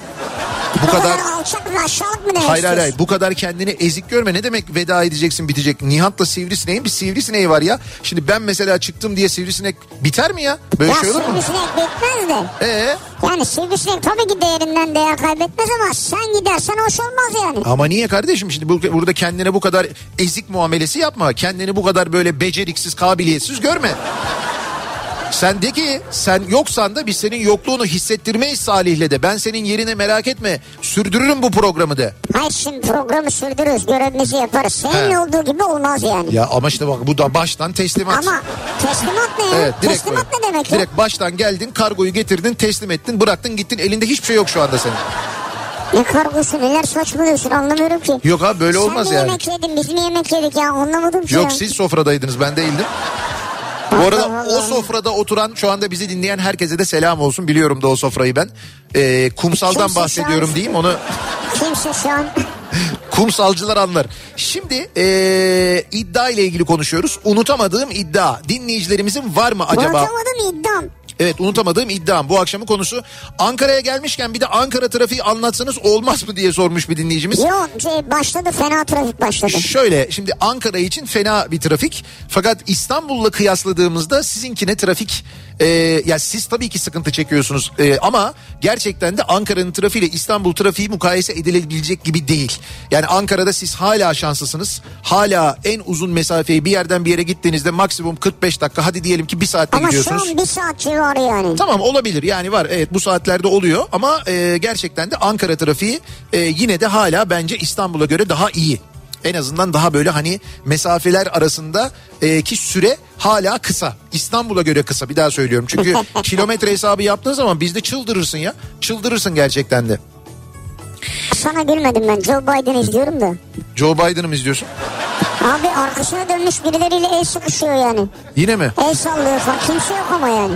Speaker 2: bu
Speaker 3: bu kadar,
Speaker 2: kadar
Speaker 3: alçak ve aşağılık mı demek
Speaker 2: hayır hayır,
Speaker 3: istiyorsun?
Speaker 2: hayır bu kadar kendini ezik görme. Ne demek veda edeceksin bitecek? Nihat'la sivrisineğin bir sivrisineği var ya. Şimdi ben mesela çıktım diye sivrisinek biter mi ya? Böyle şey
Speaker 3: ya
Speaker 2: olur mu?
Speaker 3: sivrisinek bitmez de.
Speaker 2: Ee,
Speaker 3: Yani sivrisinek tabii ki değerinden değer kaybetmez ama sen gidersen hoş olmaz yani.
Speaker 2: ama niye kardeşim şimdi bu- burada kendine bu kadar ezik muamelesi yapma. Kendini bu kadar böyle beceriksiz, kabiliyetsiz görme. Sen de ki sen yoksan da biz senin yokluğunu hissettirmeyiz Salih'le de. Ben senin yerine merak etme. Sürdürürüm bu programı de.
Speaker 3: Hayır şimdi programı sürdürürüz görevimizi yaparız. Senin
Speaker 2: He.
Speaker 3: olduğu gibi olmaz yani.
Speaker 2: Ya ama işte bak bu da baştan teslimat.
Speaker 3: Ama teslimat ne ya?
Speaker 2: Evet, direkt
Speaker 3: teslimat
Speaker 2: böyle.
Speaker 3: ne demek
Speaker 2: Direkt baştan geldin kargoyu getirdin teslim ettin bıraktın gittin elinde hiçbir şey yok şu anda senin.
Speaker 3: ya? Ne kargosu neler saçmalıyorsun anlamıyorum ki.
Speaker 2: Yok abi böyle
Speaker 3: Sen
Speaker 2: olmaz
Speaker 3: mi
Speaker 2: yani.
Speaker 3: yemek yedin biz mi yemek yedik ya anlamadım ki.
Speaker 2: Yok
Speaker 3: ya.
Speaker 2: siz sofradaydınız ben değildim. Bu arada
Speaker 3: Allah.
Speaker 2: o sofrada oturan şu anda bizi dinleyen herkese de selam olsun. Biliyorum da o sofrayı ben. Ee, kumsaldan
Speaker 3: Kimse şu an-
Speaker 2: bahsediyorum diyeyim onu
Speaker 3: Kimse şu an
Speaker 2: Kumsalcılar anlar. Şimdi eee iddia ile ilgili konuşuyoruz. Unutamadığım iddia. Dinleyicilerimizin var mı acaba?
Speaker 3: unutamadım iddiam.
Speaker 2: Evet unutamadığım iddiam. Bu akşamın konusu Ankara'ya gelmişken bir de Ankara trafiği anlatsanız olmaz mı diye sormuş bir dinleyicimiz.
Speaker 3: Yok şey başladı fena trafik başladı.
Speaker 2: Şöyle şimdi Ankara için fena bir trafik fakat İstanbul'la kıyasladığımızda sizinkine trafik e, ya siz tabii ki sıkıntı çekiyorsunuz e, ama gerçekten de Ankara'nın trafiğiyle İstanbul trafiği mukayese edilebilecek gibi değil. Yani Ankara'da siz hala şanslısınız hala en uzun mesafeyi bir yerden bir yere gittiğinizde maksimum 45 dakika hadi diyelim ki bir saatte
Speaker 3: Ama şu
Speaker 2: gidiyorsunuz.
Speaker 3: an bir saat civarı yani.
Speaker 2: Tamam olabilir yani var evet bu saatlerde oluyor ama e, gerçekten de Ankara trafiği e, yine de hala bence İstanbul'a göre daha iyi. En azından daha böyle hani mesafeler arasında e, ki süre hala kısa. İstanbul'a göre kısa bir daha söylüyorum. Çünkü kilometre hesabı yaptığın zaman bizde çıldırırsın ya. Çıldırırsın gerçekten de.
Speaker 3: Sana gülmedim ben Joe Biden izliyorum da.
Speaker 2: Joe Biden'ı mı izliyorsun?
Speaker 3: Abi arkasına dönmüş birileriyle el sıkışıyor yani.
Speaker 2: Yine mi?
Speaker 3: El sallıyor falan. Kimse yok ama yani.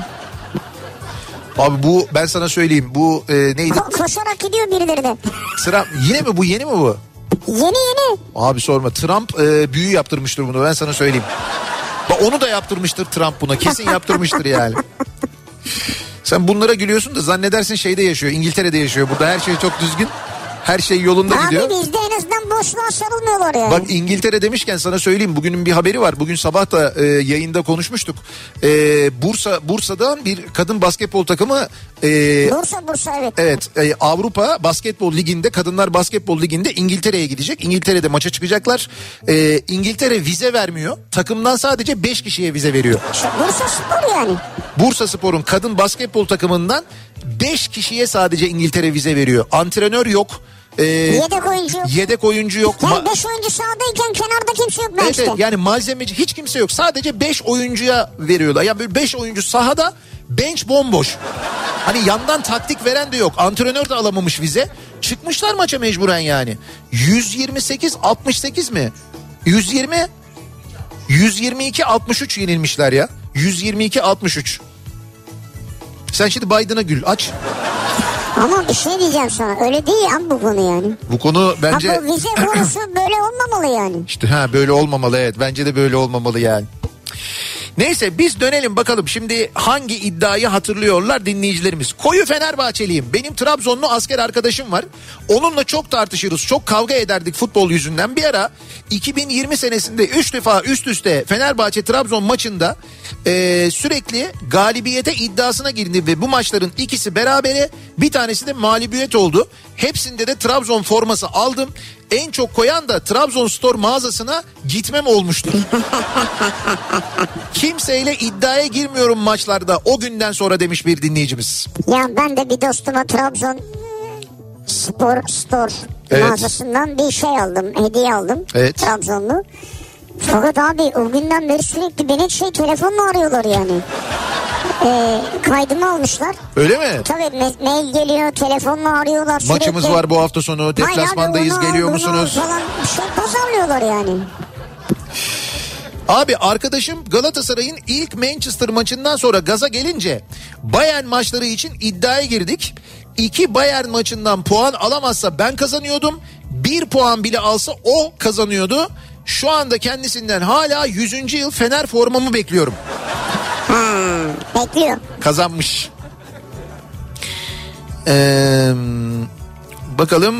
Speaker 2: Abi bu ben sana söyleyeyim bu e, neydi?
Speaker 3: Ko- koşarak gidiyor birileri de.
Speaker 2: Sıra yine mi bu yeni mi bu?
Speaker 3: Yeni yeni.
Speaker 2: Abi sorma Trump e, büyü yaptırmıştır bunu ben sana söyleyeyim. Bak onu da yaptırmıştır Trump buna kesin yaptırmıştır yani. Sen bunlara gülüyorsun da zannedersin şeyde yaşıyor İngiltere'de yaşıyor burada her şey çok düzgün. Her şey yolunda
Speaker 3: Abi
Speaker 2: gidiyor.
Speaker 3: bizde en azından boş asla sarılmıyorlar yani.
Speaker 2: Bak İngiltere demişken sana söyleyeyim bugünün bir haberi var. Bugün sabah da e, yayında konuşmuştuk. E, Bursa Bursa'dan bir kadın basketbol takımı e,
Speaker 3: Bursa Bursa evet.
Speaker 2: Evet e, Avrupa Basketbol Ligi'nde kadınlar basketbol liginde İngiltere'ye gidecek. İngiltere'de maça çıkacaklar. E, İngiltere vize vermiyor. Takımdan sadece 5 kişiye vize veriyor.
Speaker 3: Bursa Spor yani.
Speaker 2: Bursa Spor'un kadın basketbol takımından 5 kişiye sadece İngiltere vize veriyor. Antrenör yok. E,
Speaker 3: Yedek oyuncu yok.
Speaker 2: yedek oyuncu yok.
Speaker 3: Yani
Speaker 2: Ma-
Speaker 3: 5 oyuncu sahadayken kenarda kimse yok
Speaker 2: Evet,
Speaker 3: maçta.
Speaker 2: evet. yani malzemeci hiç kimse yok. Sadece 5 oyuncuya veriyorlar. Yani böyle 5 oyuncu sahada bench bomboş. Hani yandan taktik veren de yok. Antrenör de alamamış vize. Çıkmışlar maça mecburen yani. 128 68 mi? 120 122 63 yenilmişler ya. 122 63. Sen şimdi Biden'a gül aç.
Speaker 3: Ama bir şey diyeceğim sana öyle değil abi bu konu yani.
Speaker 2: Bu konu bence
Speaker 3: Abi bu vize konusu böyle olmamalı yani.
Speaker 2: İşte ha böyle olmamalı evet bence de böyle olmamalı yani. Neyse biz dönelim bakalım şimdi hangi iddiayı hatırlıyorlar dinleyicilerimiz. Koyu Fenerbahçeliyim. Benim Trabzonlu asker arkadaşım var. Onunla çok tartışırız, çok kavga ederdik futbol yüzünden. Bir ara 2020 senesinde 3 defa üst üste Fenerbahçe Trabzon maçında eee, sürekli galibiyete iddiasına girdi ve bu maçların ikisi berabere bir tanesi de mağlubiyet oldu. Hepsinde de Trabzon forması aldım. En çok koyan da Trabzonspor mağazasına gitmem olmuştu. Kimseyle iddiaya girmiyorum maçlarda o günden sonra demiş bir dinleyicimiz.
Speaker 3: Ya ben de bir dostuma Trabzon Spor Store
Speaker 2: Evet.
Speaker 3: mağazasından bir şey aldım, hediye aldım.
Speaker 2: Evet.
Speaker 3: Trabzonlu. Fakat abi o günden beri sürekli beni şey telefonla arıyorlar yani. Ee, kaydımı almışlar.
Speaker 2: Öyle mi?
Speaker 3: Tabii me- mail geliyor, telefonla arıyorlar sürekli.
Speaker 2: Maçımız var bu hafta sonu.
Speaker 3: Hayır abi,
Speaker 2: Deplasmandayız
Speaker 3: onu al,
Speaker 2: geliyor
Speaker 3: bunu al
Speaker 2: musunuz?
Speaker 3: Falan bir şey pazarlıyorlar yani.
Speaker 2: Abi arkadaşım Galatasaray'ın ilk Manchester maçından sonra gaza gelince Bayern maçları için iddiaya girdik. İki Bayern maçından puan alamazsa ben kazanıyordum. Bir puan bile alsa o kazanıyordu. Şu anda kendisinden hala 100. yıl Fener formamı bekliyorum.
Speaker 3: Bekliyor.
Speaker 2: kazanmış. Ee, bakalım.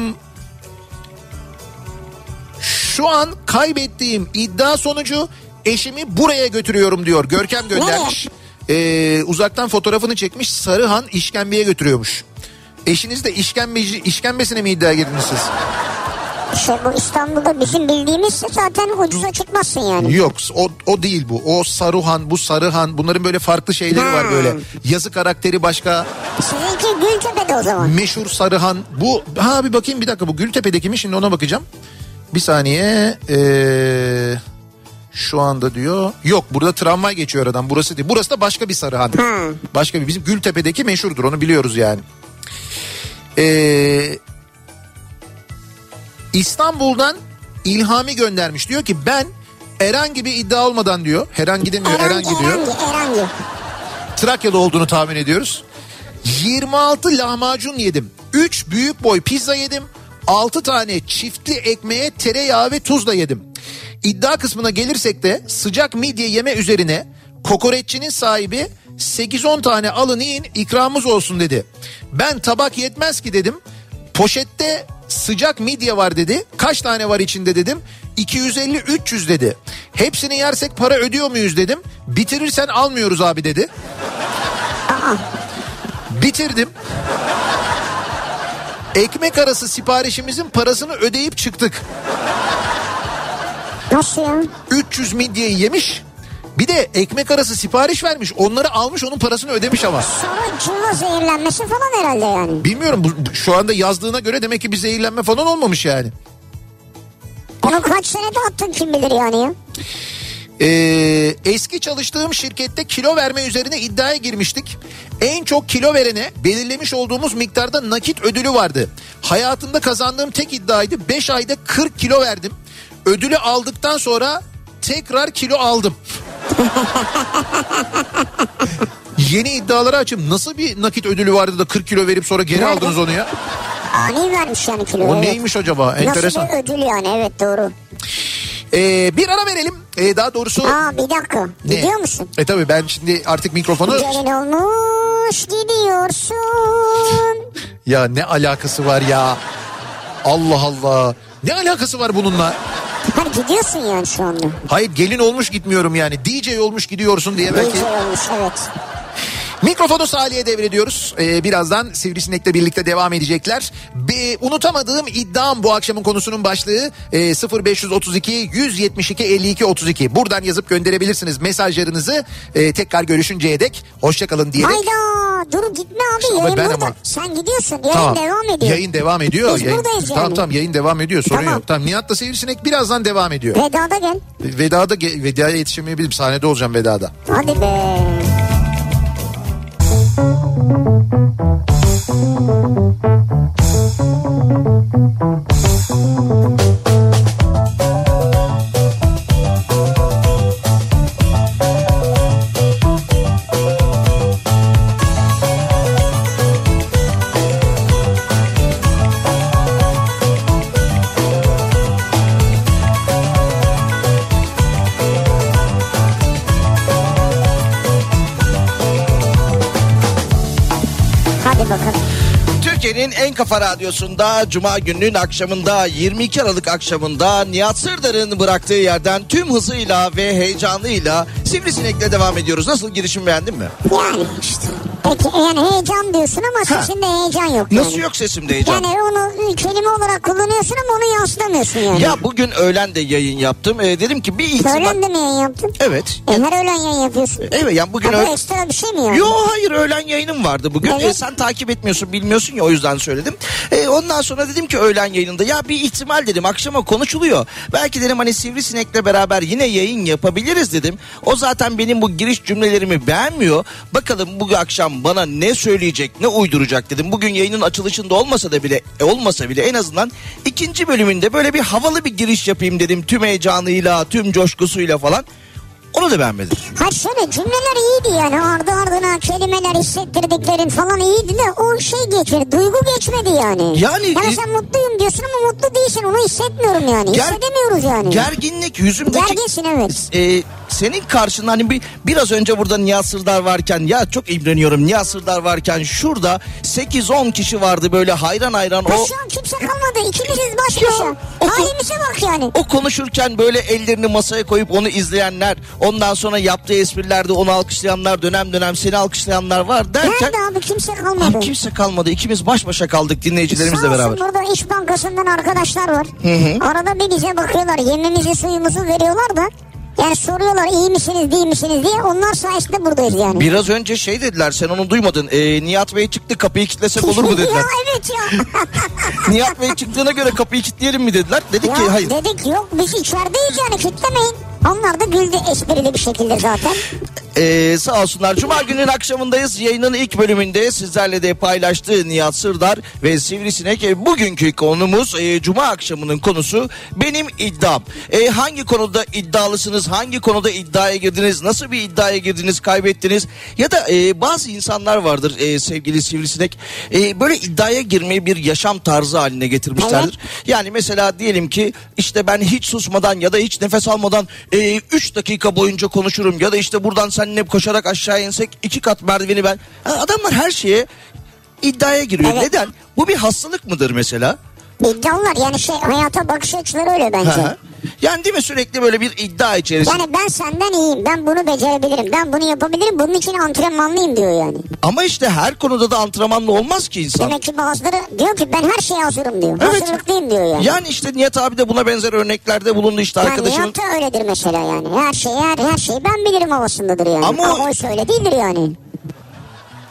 Speaker 2: Şu an kaybettiğim iddia sonucu eşimi buraya götürüyorum diyor. Görkem göndermiş. Ee, uzaktan fotoğrafını çekmiş. Sarıhan işkembeye götürüyormuş. Eşiniz de işkembeci, işkembesine mi iddia girdiniz siz?
Speaker 3: Şey bu İstanbul'da bizim bildiğimiz zaten ucuza çıkmazsın yani.
Speaker 2: Yok o, o değil bu. O Saruhan, bu Sarıhan bunların böyle farklı şeyleri var
Speaker 3: Ha.
Speaker 2: böyle. Yazı karakteri başka.
Speaker 3: Sizinki Gültepe'de o zaman.
Speaker 2: Meşhur Sarıhan. Bu ha bir bakayım bir dakika bu Gültepe'deki mi şimdi ona bakacağım. Bir saniye. Ee, şu anda diyor. Yok burada tramvay geçiyor aradan. Burası değil. Burası da başka bir Sarıhan. Başka bir bizim Gültepe'deki meşhurdur. Onu biliyoruz yani. Ee, İstanbul'dan İlhami göndermiş. Diyor ki ben herhangi bir iddia olmadan diyor. Herhangi demiyor.
Speaker 3: Erangi,
Speaker 2: Herhangi diyor.
Speaker 3: Erangi, Erangi.
Speaker 2: Trakya'da olduğunu tahmin ediyoruz. 26 lahmacun yedim. 3 büyük boy pizza yedim. 6 tane çiftli ekmeğe tereyağı ve tuzla yedim. İddia kısmına gelirsek de sıcak midye yeme üzerine kokoreççinin sahibi 8-10 tane alın yiyin ikramımız olsun dedi. Ben tabak yetmez ki dedim. Poşette sıcak midye var dedi. Kaç tane var içinde dedim. 250-300 dedi. Hepsini yersek para ödüyor muyuz dedim. Bitirirsen almıyoruz abi dedi. Bitirdim. Ekmek arası siparişimizin parasını ödeyip çıktık.
Speaker 3: Nasıl ya?
Speaker 2: 300 midyeyi yemiş. Bir de ekmek arası sipariş vermiş. Onları almış onun parasını ödemiş ama.
Speaker 3: Sonra cıva zehirlenmesi falan herhalde yani.
Speaker 2: Bilmiyorum bu- bu, şu anda yazdığına göre demek ki bir zehirlenme falan olmamış yani.
Speaker 3: Onu kaç senede attın kim bilir yani ya.
Speaker 2: Ee, eski çalıştığım şirkette kilo verme üzerine iddiaya girmiştik. En çok kilo verene belirlemiş olduğumuz miktarda nakit ödülü vardı. Hayatımda kazandığım tek iddiaydı. 5 ayda 40 kilo verdim. Ödülü aldıktan sonra tekrar kilo aldım. Yeni iddiaları açım. Nasıl bir nakit ödülü vardı da 40 kilo verip sonra geri aldınız onu ya?
Speaker 3: Ani vermiş yani kilo.
Speaker 2: O
Speaker 3: evet.
Speaker 2: neymiş acaba? Enteresan.
Speaker 3: Nasıl bir ödül yani evet doğru.
Speaker 2: Ee, bir ara verelim. Ee, daha doğrusu...
Speaker 3: Aa bir dakika
Speaker 2: Ne?
Speaker 3: gidiyor musun?
Speaker 2: E tabii ben şimdi artık mikrofonu...
Speaker 3: Gelin olmuş gidiyorsun.
Speaker 2: Ya ne alakası var ya? Allah Allah. Ne alakası var bununla?
Speaker 3: Hani gidiyorsun yani şu anda.
Speaker 2: Hayır gelin olmuş gitmiyorum yani. DJ olmuş gidiyorsun diye belki.
Speaker 3: İyice olmuş evet.
Speaker 2: Mikrofonu Salih'e devrediyoruz. Ee, birazdan Sivrisinek'le birlikte devam edecekler. Be- unutamadığım iddiam bu akşamın konusunun başlığı e, 0532 172 52 32. Buradan yazıp gönderebilirsiniz mesajlarınızı. E, tekrar görüşünceye dek hoşçakalın diyerek.
Speaker 3: Hayda dur gitme abi
Speaker 2: Ama
Speaker 3: yayın
Speaker 2: ben
Speaker 3: burada.
Speaker 2: ama-
Speaker 3: Sen gidiyorsun yayın devam ediyor.
Speaker 2: Yayın devam ediyor.
Speaker 3: Biz
Speaker 2: yayın...
Speaker 3: buradayız
Speaker 2: Tamam
Speaker 3: yani.
Speaker 2: tamam yayın devam ediyor. Sorun
Speaker 3: Tamam.
Speaker 2: yok. Tamam Nihat'la Sivrisinek birazdan devam ediyor.
Speaker 3: Veda'da gel.
Speaker 2: Veda'da ge- Veda'ya yetişemeyebilirim. Sahnede olacağım Veda'da.
Speaker 3: Hadi be. Hadi bakalım.
Speaker 4: Türkiye'nin en kafa radyosunda Cuma gününün akşamında 22 Aralık akşamında Nihat Sırdar'ın bıraktığı yerden tüm hızıyla ve heyecanıyla Sivrisinek'le devam ediyoruz. Nasıl girişim beğendin mi?
Speaker 3: Yani işte. Peki e, yani heyecan diyorsun ama sesinde heyecan yok. Yani.
Speaker 4: Nasıl yok sesimde heyecan?
Speaker 3: Yani onu e, kelime olarak kullanıyorsun ama onu yansıtamıyorsun yani.
Speaker 4: Ya bugün öğlen de yayın yaptım. Ee, dedim ki bir
Speaker 3: Öğlen
Speaker 4: ihtimal...
Speaker 3: de mi yayın yaptın?
Speaker 4: Evet.
Speaker 3: E, her öğlen yayın yapıyorsun.
Speaker 4: Evet yani E, bugün...
Speaker 3: Ha, bu
Speaker 4: öğ-
Speaker 3: ekstra bir şey mi yani?
Speaker 4: Yo hayır öğlen yayınım vardı bugün.
Speaker 3: Evet.
Speaker 4: E, sen takip etmiyorsun bilmiyorsun ya o yüzden söyledim. E, ondan sonra dedim ki öğlen yayınında ya bir ihtimal dedim akşama konuşuluyor. Belki dedim hani Sivrisinek'le beraber yine yayın yapabiliriz dedim. O zaten benim bu giriş cümlelerimi beğenmiyor. Bakalım bu akşam bana ne söyleyecek ne uyduracak dedim. Bugün yayının açılışında olmasa da bile e, olmasa bile en azından ikinci bölümünde böyle bir havalı bir giriş yapayım dedim. Tüm heyecanıyla tüm coşkusuyla falan. Onu da beğenmedim.
Speaker 3: Hayır şöyle cümleler iyiydi yani ardı ardına kelimeler hissettirdiklerin falan iyiydi de o şey geçmedi duygu geçmedi yani.
Speaker 4: Yani- e-
Speaker 3: Ya mesela mutluyum diyorsun ama mutlu değilsin onu hissetmiyorum yani
Speaker 4: Ger-
Speaker 3: hissedemiyoruz yani.
Speaker 4: Gerginlik yüzümdeki...
Speaker 3: Gerginsin evet.
Speaker 4: e, senin karşında hani bir biraz önce burada Nihat Sırdar varken ya çok imreniyorum Nihat Sırdar varken şurada 8-10 kişi vardı böyle hayran hayran
Speaker 3: Ha
Speaker 4: o
Speaker 3: şu an kimse kalmadı ikimiziz baş başa.
Speaker 4: o-
Speaker 3: Halimize bak yani.
Speaker 4: o konuşurken böyle ellerini masaya koyup onu izleyenler ondan sonra yaptığı esprilerde onu alkışlayanlar dönem dönem seni alkışlayanlar var derken
Speaker 3: Nerede abi kimse kalmadı.
Speaker 4: Ah, kimse kalmadı ikimiz baş başa kaldık
Speaker 3: Sağ
Speaker 4: dinleyicilerimizle
Speaker 3: olsun
Speaker 4: beraber.
Speaker 3: burada İş Bankası'ndan arkadaşlar var. Arada bir bize bakıyorlar. Yemimizi suyumuzu veriyorlar da. Yani soruyorlar iyi misiniz değil misiniz diye. Onlar sayesinde buradayız yani.
Speaker 4: Biraz önce şey dediler sen onu duymadın Ee, Nihat Bey çıktı kapıyı kilitlesek olur mu dediler.
Speaker 3: ya evet ya.
Speaker 4: Nihat Bey çıktığına göre kapıyı kilitleyelim mi dediler. Dedik ki
Speaker 3: ya
Speaker 4: hayır.
Speaker 3: Dedik yok biz içerideyiz yani kitlemeyin. Onlar da güldü esprili bir şekilde zaten.
Speaker 4: Ee, sağ olsunlar. Cuma günün akşamındayız. Yayının ilk bölümünde sizlerle de paylaştığı Nihat Sırdar ve Sivrisinek. E, bugünkü konumuz e, Cuma akşamının konusu benim iddiam. E, hangi konuda iddialısınız? Hangi konuda iddiaya girdiniz? Nasıl bir iddiaya girdiniz? Kaybettiniz? Ya da e, bazı insanlar vardır e, sevgili Sivrisinek. E, böyle iddiaya girmeyi bir yaşam tarzı haline getirmişlerdir. Yani mesela diyelim ki işte ben hiç susmadan ya da hiç nefes almadan 3 dakika boyunca konuşurum ya da işte buradan seninle koşarak aşağı insek iki kat merdiveni ben. Ha, adamlar her şeye iddiaya giriyor.
Speaker 3: Evet.
Speaker 4: Neden? Bu bir hastalık mıdır mesela?
Speaker 3: İddialar yani şey hayata bakış açıları öyle bence.
Speaker 4: Hı hı. yani değil mi sürekli böyle bir iddia içerisinde.
Speaker 3: Yani ben senden iyiyim. Ben bunu becerebilirim. Ben bunu yapabilirim. Bunun için antrenmanlıyım diyor yani.
Speaker 4: Ama işte her konuda da antrenmanlı olmaz ki insan.
Speaker 3: Demek ki bazıları diyor ki ben her şeye hazırım diyor.
Speaker 4: Evet.
Speaker 3: Hazırlıklıyım diyor yani.
Speaker 4: Yani işte Nihat abi de buna benzer örneklerde bulundu işte arkadaşım.
Speaker 3: Yani da öyledir mesela yani. Her şey her, her şey ben bilirim havasındadır yani.
Speaker 4: Ama o-
Speaker 3: Ama, oysa öyle değildir yani.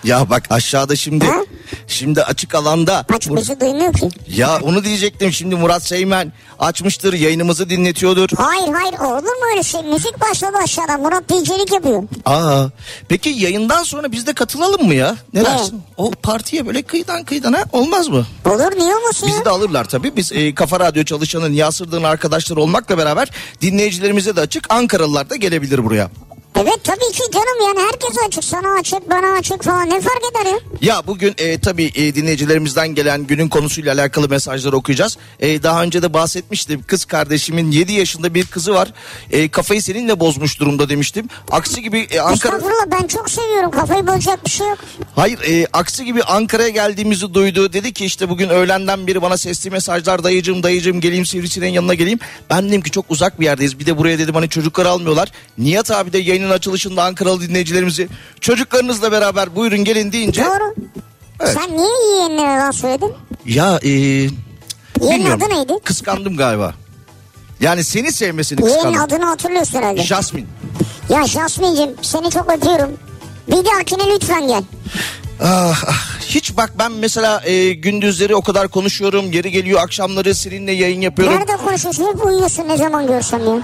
Speaker 4: Ya bak aşağıda şimdi
Speaker 3: Ha?
Speaker 4: şimdi açık alanda
Speaker 3: Açık bizi duymuyor ki.
Speaker 4: Ya onu diyecektim şimdi Murat Seymen açmıştır yayınımızı dinletiyordur.
Speaker 3: Hayır hayır olur mu öyle şey? Müzik başladı aşağıdan. Murat DJ'lik yapıyor.
Speaker 4: Aa. Peki yayından sonra biz de katılalım mı ya? Ne
Speaker 3: Ne?
Speaker 4: dersin? O partiye böyle kıyıdan kıydana olmaz mı?
Speaker 3: Olur niye olmasın ya?
Speaker 4: Bizi de alırlar tabii. Biz e, Kafa Radyo çalışanın Yasırdığın arkadaşları olmakla beraber dinleyicilerimize de açık. Ankaralılar da gelebilir buraya.
Speaker 3: Evet tabii ki canım yani herkes açık sana açık bana açık falan ne fark eder ya?
Speaker 4: Ya bugün e, tabii e, dinleyicilerimizden gelen günün konusuyla alakalı mesajları okuyacağız. E, daha önce de bahsetmiştim. Kız kardeşimin 7 yaşında bir kızı var. E, kafayı seninle bozmuş durumda demiştim. Aksi gibi e, Ankara...
Speaker 3: Estağfurullah ben çok seviyorum kafayı bozacak bir şey yok.
Speaker 4: Hayır e, aksi gibi Ankara'ya geldiğimizi duydu. Dedi ki işte bugün öğlenden beri bana sesli mesajlar dayıcım dayıcım geleyim sivrisineğin yanına geleyim. Ben dedim ki çok uzak bir yerdeyiz. Bir de buraya dedim hani çocukları almıyorlar. Nihat abi de yayının açılışında Ankaralı dinleyicilerimizi çocuklarınızla beraber buyurun gelin deyince.
Speaker 3: Doğru. Sen niye yeğenine yalan söyledin?
Speaker 4: Ya e, bilmiyorum.
Speaker 3: adı neydi?
Speaker 4: Kıskandım galiba. Yani seni sevmesini
Speaker 3: Yeğenin
Speaker 4: kıskandım.
Speaker 3: adını hatırlıyorsun herhalde.
Speaker 4: Ee, Jasmine.
Speaker 3: ya Jasmin'cim seni çok öpüyorum. Bir dahakine lütfen gel.
Speaker 4: Ah, ah. hiç bak ben mesela e, gündüzleri o kadar konuşuyorum. Geri geliyor akşamları seninle yayın yapıyorum.
Speaker 3: Nerede konuşuyorsun? Hep uyuyorsun ne zaman görsem ya.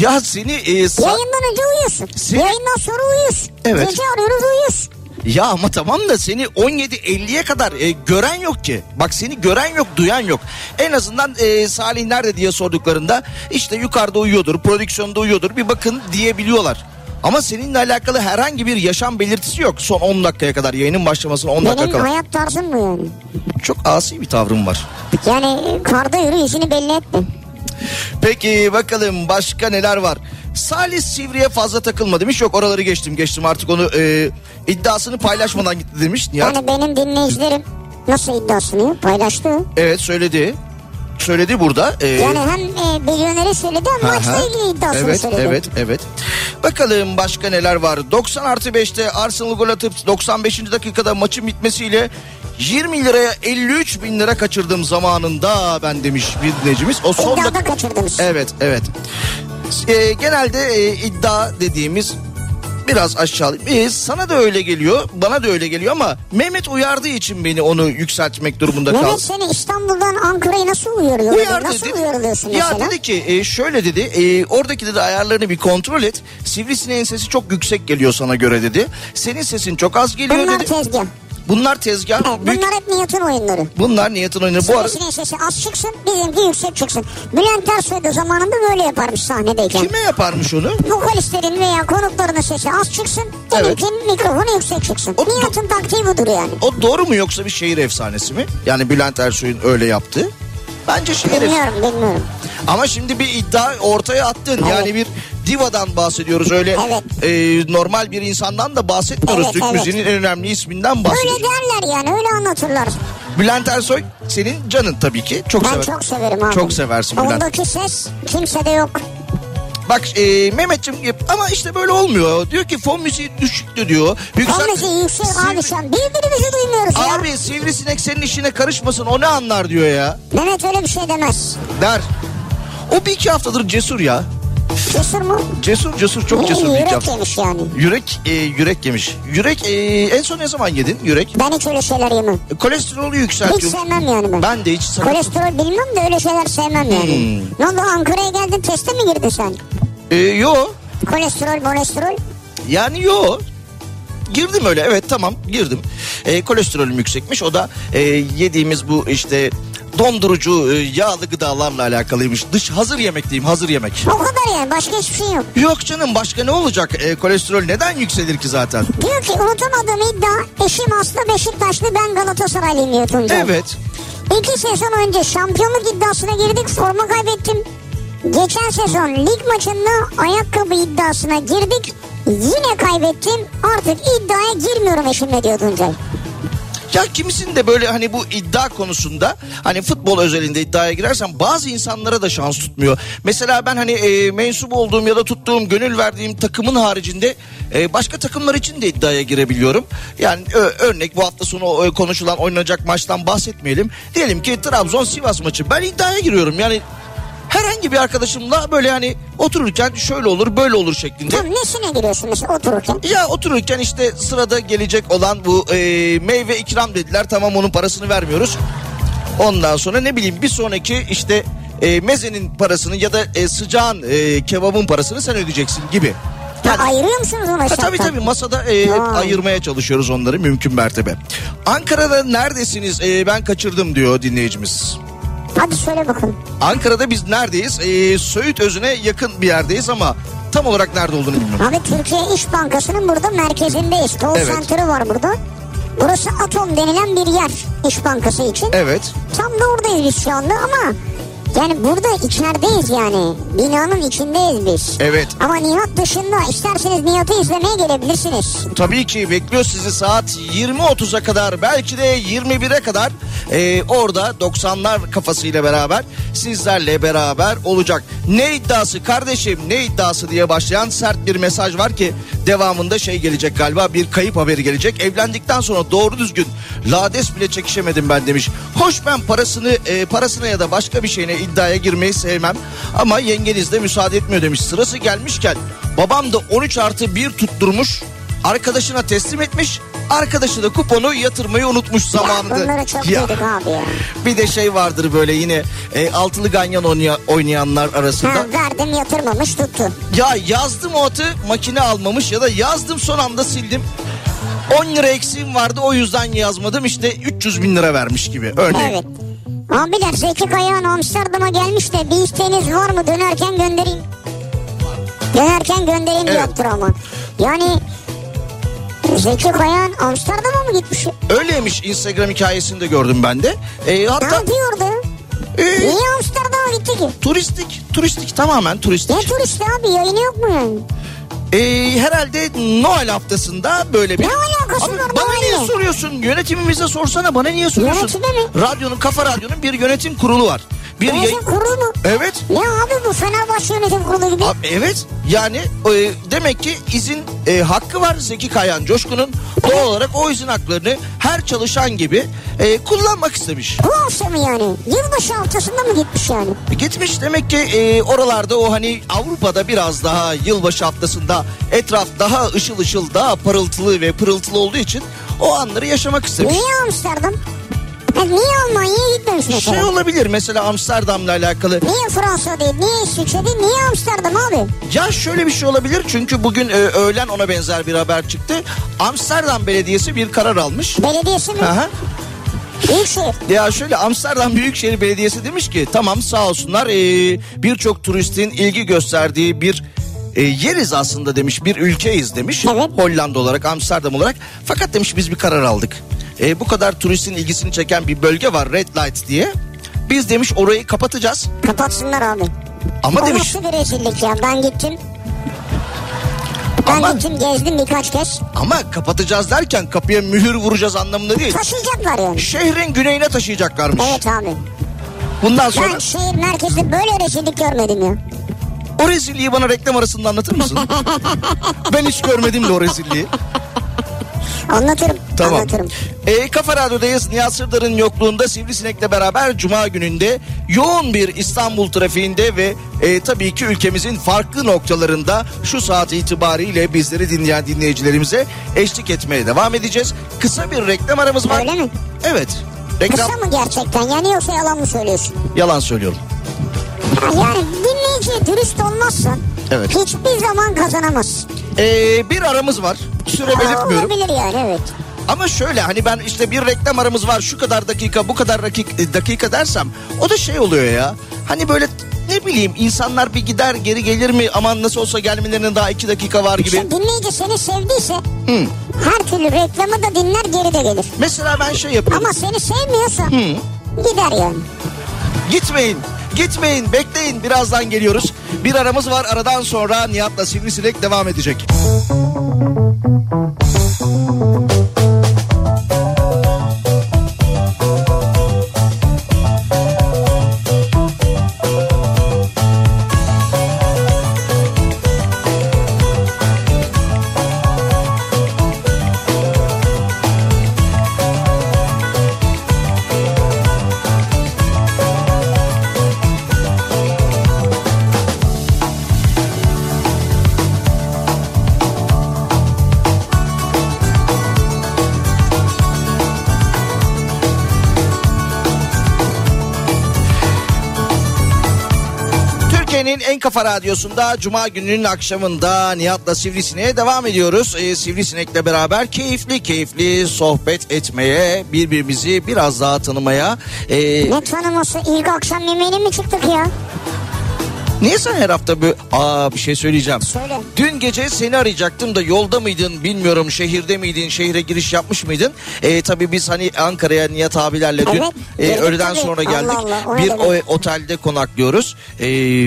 Speaker 4: Ya seni e, sa-
Speaker 3: Yayından önce uyuyorsun.
Speaker 4: Sen-
Speaker 3: Yayından sonra uyuyorsun.
Speaker 4: Evet.
Speaker 3: Gece arıyoruz uyuyorsun.
Speaker 4: Ya ama tamam da seni 17.50'ye kadar e, gören yok ki. Bak seni gören yok, duyan yok. En azından e, Salih nerede diye sorduklarında işte yukarıda uyuyordur, prodüksiyonda uyuyordur bir bakın diyebiliyorlar. Ama seninle alakalı herhangi bir yaşam belirtisi yok. Son 10 dakikaya kadar yayının başlamasına 10 dakika
Speaker 3: Benim
Speaker 4: kala.
Speaker 3: hayat tarzım bu yani.
Speaker 4: Çok asi bir tavrım var.
Speaker 3: Yani e, karda yürü işini belli etme.
Speaker 4: Peki bakalım başka neler var? Salih Sivri'ye fazla takılma demiş. Yok oraları geçtim geçtim artık onu e, iddiasını paylaşmadan gitti demiş. Nihat.
Speaker 3: Yani benim dinleyicilerim nasıl iddiasını paylaştı.
Speaker 4: Evet söyledi. Söyledi burada. E,
Speaker 3: Yani hem e, milyoneri söyledi hem maçla
Speaker 4: Aha.
Speaker 3: ilgili iddiasını
Speaker 4: evet,
Speaker 3: söyledi.
Speaker 4: Evet evet Bakalım başka neler var. 90 artı 5'te Arsenal gol atıp 95. dakikada maçın bitmesiyle 20 liraya 53 bin lira kaçırdım zamanında ben demiş bir dinleyicimiz. O son
Speaker 3: İddiada
Speaker 4: dak-
Speaker 3: kaçırdınız.
Speaker 4: Evet evet. Ee, genelde e, iddia dediğimiz biraz aşağılayım. Ee, sana da öyle geliyor, bana da öyle geliyor ama Mehmet uyardığı için beni onu yükseltmek durumunda kaldı.
Speaker 3: Mehmet seni İstanbul'dan Ankara'ya nasıl uyarıyor? nasıl uyarılıyorsun
Speaker 4: ya
Speaker 3: mesela?
Speaker 4: dedi ki e, şöyle dedi e, oradaki dedi ayarlarını bir kontrol et. Sivrisineğin sesi çok yüksek geliyor sana göre dedi. Senin sesin çok az geliyor
Speaker 3: Bunlar
Speaker 4: dedi.
Speaker 3: tezgah.
Speaker 4: Bunlar tezgah.
Speaker 3: Evet,
Speaker 4: büyük-
Speaker 3: bunlar hep Nihat'ın oyunları.
Speaker 4: bunlar niyetin oyunu. Bu arada
Speaker 3: Sivrisinin sesi az çıksın bizimki yüksek çıksın. Bülent Ersoy da zamanında böyle yaparmış sahnedeyken.
Speaker 4: kime yaparmış onu?
Speaker 3: Vokalistlerin veya konuklarının sesi az çıksın.
Speaker 4: Evet.
Speaker 3: Benimkinin mikrofonu yüksek çıksın.
Speaker 4: O-
Speaker 3: Nihat'ın taktiği budur yani.
Speaker 4: O doğru mu yoksa bir şehir efsanesi mi? Yani Bülent Ersoy'un öyle yaptığı. Bence şehir efsanesi.
Speaker 3: Bilmiyorum bilmiyorum.
Speaker 4: Ama şimdi bir iddia ortaya attın. Yani bir divadan bahsediyoruz. Öyle
Speaker 3: Evet.
Speaker 4: e, normal bir insandan da bahsetmiyoruz.
Speaker 3: Evet,
Speaker 4: Türk
Speaker 3: evet.
Speaker 4: müziğinin en önemli isminden
Speaker 3: Öyle
Speaker 4: bahsediyoruz.
Speaker 3: derler yani öyle anlatırlar.
Speaker 4: Bülent Ersoy senin canın tabii ki. Çok
Speaker 3: Ben
Speaker 4: sever.
Speaker 3: çok severim abi.
Speaker 4: Çok seversin Bülent.
Speaker 3: Ondaki ses kimsede yok.
Speaker 4: Bak e, Mehmetciğim yap- ama işte böyle olmuyor. Diyor ki fon müziği düşüktü diyor. Yüksel-
Speaker 3: Onun için yüksek
Speaker 4: Sivri-
Speaker 3: abi şu an birbirimizi duymuyoruz ya.
Speaker 4: Abi sivrisinek senin işine karışmasın o ne anlar diyor ya.
Speaker 3: Mehmet öyle bir şey demez.
Speaker 4: Der. O bir iki haftadır cesur ya.
Speaker 3: Cesur mu?
Speaker 4: Cesur cesur çok
Speaker 3: Ne,
Speaker 4: cesur bir iki
Speaker 3: Yürek
Speaker 4: hafta.
Speaker 3: yemiş yani.
Speaker 4: Yürek e, yürek yemiş. Yürek e, en son ne zaman yedin yürek?
Speaker 3: Ben hiç öyle şeyler yemem.
Speaker 4: E, kolesterolü
Speaker 3: Hiç
Speaker 4: yükseltiyor.
Speaker 3: sevmem yani ben.
Speaker 4: Ben de hiç sana-
Speaker 3: Kolesterol bilmem de öyle şeyler sevmem yani.
Speaker 4: Hmm.
Speaker 3: Ne oldu Ankara'ya geldin teste mi girdin sen?
Speaker 4: E, yo
Speaker 3: Kolesterol, kolesterol.
Speaker 4: Yani yo. Girdim öyle evet tamam girdim. E, kolesterolüm yüksekmiş o da e, yediğimiz bu işte dondurucu e, yağlı gıdalarla alakalıymış. Dış hazır yemek diyeyim hazır yemek.
Speaker 3: O kadar yani başka hiçbir şey yok.
Speaker 4: Yok canım başka ne olacak E, kolesterol neden yükselir ki zaten?
Speaker 3: Diyor ki unutamadığım iddia eşim Aslı Beşiktaşlı ben Galatasaraylıyım diyor Tuncay.
Speaker 4: Evet
Speaker 3: İki sezon önce şampiyonluk iddiasına girdik forma kaybettim. Geçen sezon lig maçında ayakkabı iddiasına girdik yine kaybettim artık iddiaya girmiyorum eşimle diyor Tuncay.
Speaker 4: ya kimisinin de böyle hani bu iddia konusunda hani futbol özelinde iddiaya girersen bazı insanlara da şans tutmuyor. Mesela ben hani e, mensup olduğum ya da tuttuğum gönül verdiğim takımın haricinde e, başka takımlar için de iddiaya girebiliyorum. Yani ö- örnek bu hafta sonu e, konuşulan oynanacak maçtan bahsetmeyelim. Diyelim ki Trabzon Sivas maçı ben iddiaya giriyorum yani herhangi bir arkadaşımla böyle hani otururken şöyle olur böyle olur şeklinde.
Speaker 3: Tam nesine giriyorsun mesela otururken?
Speaker 4: Ya otururken işte sırada gelecek olan bu e, meyve ikram dediler. Tamam onun parasını vermiyoruz. Ondan sonra ne bileyim bir sonraki işte e, mezenin parasını ya da e, sıcağın e, kebabın parasını sen ödeyeceksin gibi.
Speaker 3: Ha, ayırıyor musunuz ona
Speaker 4: Ha,
Speaker 3: şarttan?
Speaker 4: tabii tabii masada e, hep
Speaker 3: Vay.
Speaker 4: ayırmaya çalışıyoruz onları mümkün mertebe. Ankara'da neredesiniz E, ben kaçırdım diyor dinleyicimiz.
Speaker 3: Hadi söyle bakalım.
Speaker 4: Ankara'da biz neredeyiz? Ee, Söğüt Özü'ne yakın bir yerdeyiz ama tam olarak nerede olduğunu bilmiyorum.
Speaker 3: Abi Türkiye İş Bankası'nın burada merkezindeyiz. Call
Speaker 4: Evet.
Speaker 3: center'ı var burada. Burası Atom denilen bir yer İş Bankası için.
Speaker 4: Evet.
Speaker 3: Tam da oradayız biz şu anda ama yani burada içerideyiz yani. Binanın içindeyiz biz.
Speaker 4: Evet.
Speaker 3: Ama Nihat dışında isterseniz Nihat'ı izlemeye gelebilirsiniz.
Speaker 4: Tabii ki bekliyor sizi saat 20.30'a kadar belki de 21'e kadar Ee, orada 90'lar kafasıyla beraber sizlerle beraber olacak. Ne iddiası kardeşim ne iddiası diye başlayan sert bir mesaj var ki devamında şey gelecek galiba bir kayıp haberi gelecek. Evlendikten sonra doğru düzgün lades bile çekişemedim ben demiş. Hoş ben parasını e, parasına ya da başka bir şeyine iddiaya girmeyi sevmem ama yengeniz de müsaade etmiyor demiş. Sırası gelmişken babam da 13 artı 1 tutturmuş arkadaşına teslim etmiş. Arkadaşı da kuponu yatırmayı unutmuş zamanında.
Speaker 3: Bunları çok
Speaker 4: Ya,
Speaker 3: duyduk abi ya.
Speaker 4: Bir de şey vardır böyle yine e, altılı ganyan oynaya- oynayanlar arasında.
Speaker 3: Ha, verdim yatırmamış tuttu.
Speaker 4: Ya yazdım o atı makine almamış ya da yazdım son anda sildim. 10 lira eksiğim vardı o yüzden yazmadım işte 300 bin lira vermiş gibi örneğin.
Speaker 3: Evet. Abiler Zeki Kayağan Amsterdam'a gelmiş de bir isteğiniz var mı dönerken göndereyim. Dönerken göndereyim
Speaker 4: Evet.
Speaker 3: yoktur ama. Yani Zeki Kayağan Amsterdam'a mı gitmiş?
Speaker 4: E, Öyleymiş Instagram hikayesini de gördüm ben de. E,
Speaker 3: Ne
Speaker 4: hatta
Speaker 3: yapıyordu?
Speaker 4: e,
Speaker 3: Niye Amsterdam'a gitti ki?
Speaker 4: turistik turistik tamamen turistik.
Speaker 3: Ne turisti abi yayını yok mu yani?
Speaker 4: Ee, herhalde Noel haftasında böyle bir...
Speaker 3: Ne alakası
Speaker 4: Abi
Speaker 3: var
Speaker 4: Bana
Speaker 3: Noel'le?
Speaker 4: niye soruyorsun? Yönetimimize sorsana bana niye soruyorsun?
Speaker 3: Yönetime mi?
Speaker 4: Radyonun, Kafa Radyo'nun bir yönetim kurulu var. Bir yayın-
Speaker 3: Yönetim kurulu mu?
Speaker 4: Evet.
Speaker 3: Ne abi bu Fenerbahçe yönetim kurulu gibi.
Speaker 4: Abi, evet yani e, demek ki izin e, hakkı var Zeki Kayan Coşkun'un doğal olarak o izin haklarını her çalışan gibi e, kullanmak istemiş.
Speaker 3: Bu hafta mı yani? Yılbaşı haftasında mı gitmiş yani?
Speaker 4: Gitmiş demek ki e, oralarda o hani Avrupa'da biraz daha yılbaşı haftasında etraf daha ışıl ışıl daha parıltılı ve pırıltılı olduğu için o anları yaşamak istemiş.
Speaker 3: Niye Amsterdam? Ha, niye Almanya'ya gitmemiş mesela?
Speaker 4: Şey olabilir mesela Amsterdam'la alakalı.
Speaker 3: Niye Fransa değil, niye İsviçre değil, niye Amsterdam abi?
Speaker 4: Ya şöyle bir şey olabilir çünkü bugün e, öğlen ona benzer bir haber çıktı. Amsterdam Belediyesi bir karar almış.
Speaker 3: Belediyesi mi?
Speaker 4: Aha.
Speaker 3: Büyükşehir.
Speaker 4: Ya şöyle Amsterdam Büyükşehir Belediyesi demiş ki tamam sağ olsunlar e, birçok turistin ilgi gösterdiği bir e, yeriz aslında demiş bir ülkeyiz demiş.
Speaker 3: Evet.
Speaker 4: Hollanda olarak Amsterdam olarak fakat demiş biz bir karar aldık. E, bu kadar turistin ilgisini çeken bir bölge var Red Light diye. Biz demiş orayı kapatacağız
Speaker 3: Kapatsınlar abi.
Speaker 4: ama
Speaker 3: O
Speaker 4: demiş
Speaker 3: nasıl bir rezillik ya? Ben gittim. Ben
Speaker 4: Ama-
Speaker 3: gittim gezdim birkaç kez.
Speaker 4: Ama kapatacağız derken kapıya mühür vuracağız anlamında değil.
Speaker 3: Taşıyacaklar yani.
Speaker 4: Şehrin güneyine taşıyacaklarmış.
Speaker 3: Evet abi.
Speaker 4: Bundan
Speaker 3: Ben
Speaker 4: sonra
Speaker 3: şehir merkezinde böyle rezillik görmedim ya.
Speaker 4: o rezilliği bana reklam arasında anlatır mısın? ben hiç görmedim de o rezilliği.
Speaker 3: Anlatırım.
Speaker 4: Tamam.
Speaker 3: Anlatırım.
Speaker 4: Ee, Kafa Radyo'dayız. Nihat Sırdar'ın yokluğunda Sivrisinek'le beraber Cuma gününde yoğun bir İstanbul trafiğinde ve e, tabii ki ülkemizin farklı noktalarında şu saat itibariyle bizleri dinleyen dinleyicilerimize eşlik etmeye devam edeceğiz. Kısa bir reklam aramız var.
Speaker 3: Öyle mi?
Speaker 4: Evet. Reklam
Speaker 3: Kısa mı gerçekten? Yani yoksa yalan mı söylüyorsun?
Speaker 4: yalan söylüyorum.
Speaker 3: Yani dinleyici dürüst olmazsan
Speaker 4: Evet.
Speaker 3: hiçbir zaman kazanamazsın.
Speaker 4: Ee, bir aramız var. Süre
Speaker 3: Aa,
Speaker 4: belirtmiyorum.
Speaker 3: Olabilir yani evet.
Speaker 4: Ama şöyle hani ben işte bir reklam aramız var şu kadar dakika bu kadar dakika, dakika dersem o da şey oluyor ya. Hani böyle ne bileyim insanlar bir gider geri gelir mi aman nasıl olsa gelmelerine daha iki dakika var gibi.
Speaker 3: İşte dinleyici seni sevdiyse her türlü reklamı da dinler geri de gelir.
Speaker 4: Mesela ben şey yapıyorum.
Speaker 3: Ama seni sevmiyorsa gider yani.
Speaker 4: Gitmeyin. Gitmeyin bekleyin birazdan geliyoruz. Bir aramız var aradan sonra Nihat'la Sivrisinek devam edecek. Türkiye'nin en kafa radyosunda Cuma gününün akşamında Nihat'la Sivrisine'ye devam ediyoruz. Ee, Sivrisinek'le beraber keyifli keyifli sohbet etmeye, birbirimizi biraz daha tanımaya. Ee,
Speaker 3: Ne tanıması ilk akşam yemeğine mi çıktık ya?
Speaker 4: niye sen her hafta böyle... Aa bir şey söyleyeceğim.
Speaker 3: Söyle.
Speaker 4: Dün gece seni arayacaktım da yolda mıydın bilmiyorum şehirde miydin şehre giriş yapmış mıydın? Ee, tabii biz hani Ankara'ya Nihat abilerle dün
Speaker 3: Evet,
Speaker 4: e,
Speaker 3: geldik
Speaker 4: öğleden
Speaker 3: tabii.
Speaker 4: sonra
Speaker 3: Allah
Speaker 4: geldik.
Speaker 3: Allah, o ne
Speaker 4: bir
Speaker 3: demek?
Speaker 4: o- otelde konaklıyoruz. Ee,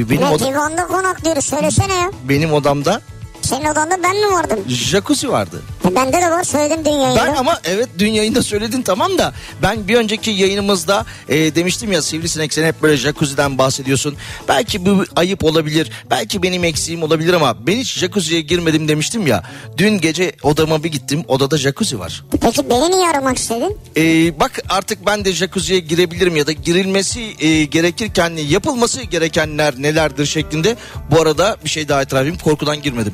Speaker 4: benim,
Speaker 3: Ulan
Speaker 4: oda-
Speaker 3: divanda konaklıyoruz söylesene ya.
Speaker 4: benim odamda
Speaker 3: Senin odanda ben mi vardım?
Speaker 4: jacuzzi vardı.
Speaker 3: E, bende de var söyledim dün yayında.
Speaker 4: Ben ama evet dün yayında söyledin tamam da ben bir önceki yayınımızda e, demiştim ya Sivrisinek sen hep böyle jacuzzi'den bahsediyorsun. Belki bu ayıp olabilir. Belki benim eksiğim olabilir ama ben hiç jacuzziye girmedim demiştim ya. Dün gece odama bir gittim. Odada jacuzzi var.
Speaker 3: Peki beni niye aramak istedin?
Speaker 4: E, bak artık ben de jacuzziye girebilirim ya da girilmesi e, gerekirken yapılması gerekenler nelerdir şeklinde. Bu arada bir şey daha itiraf edeyim. Korkudan girmedim.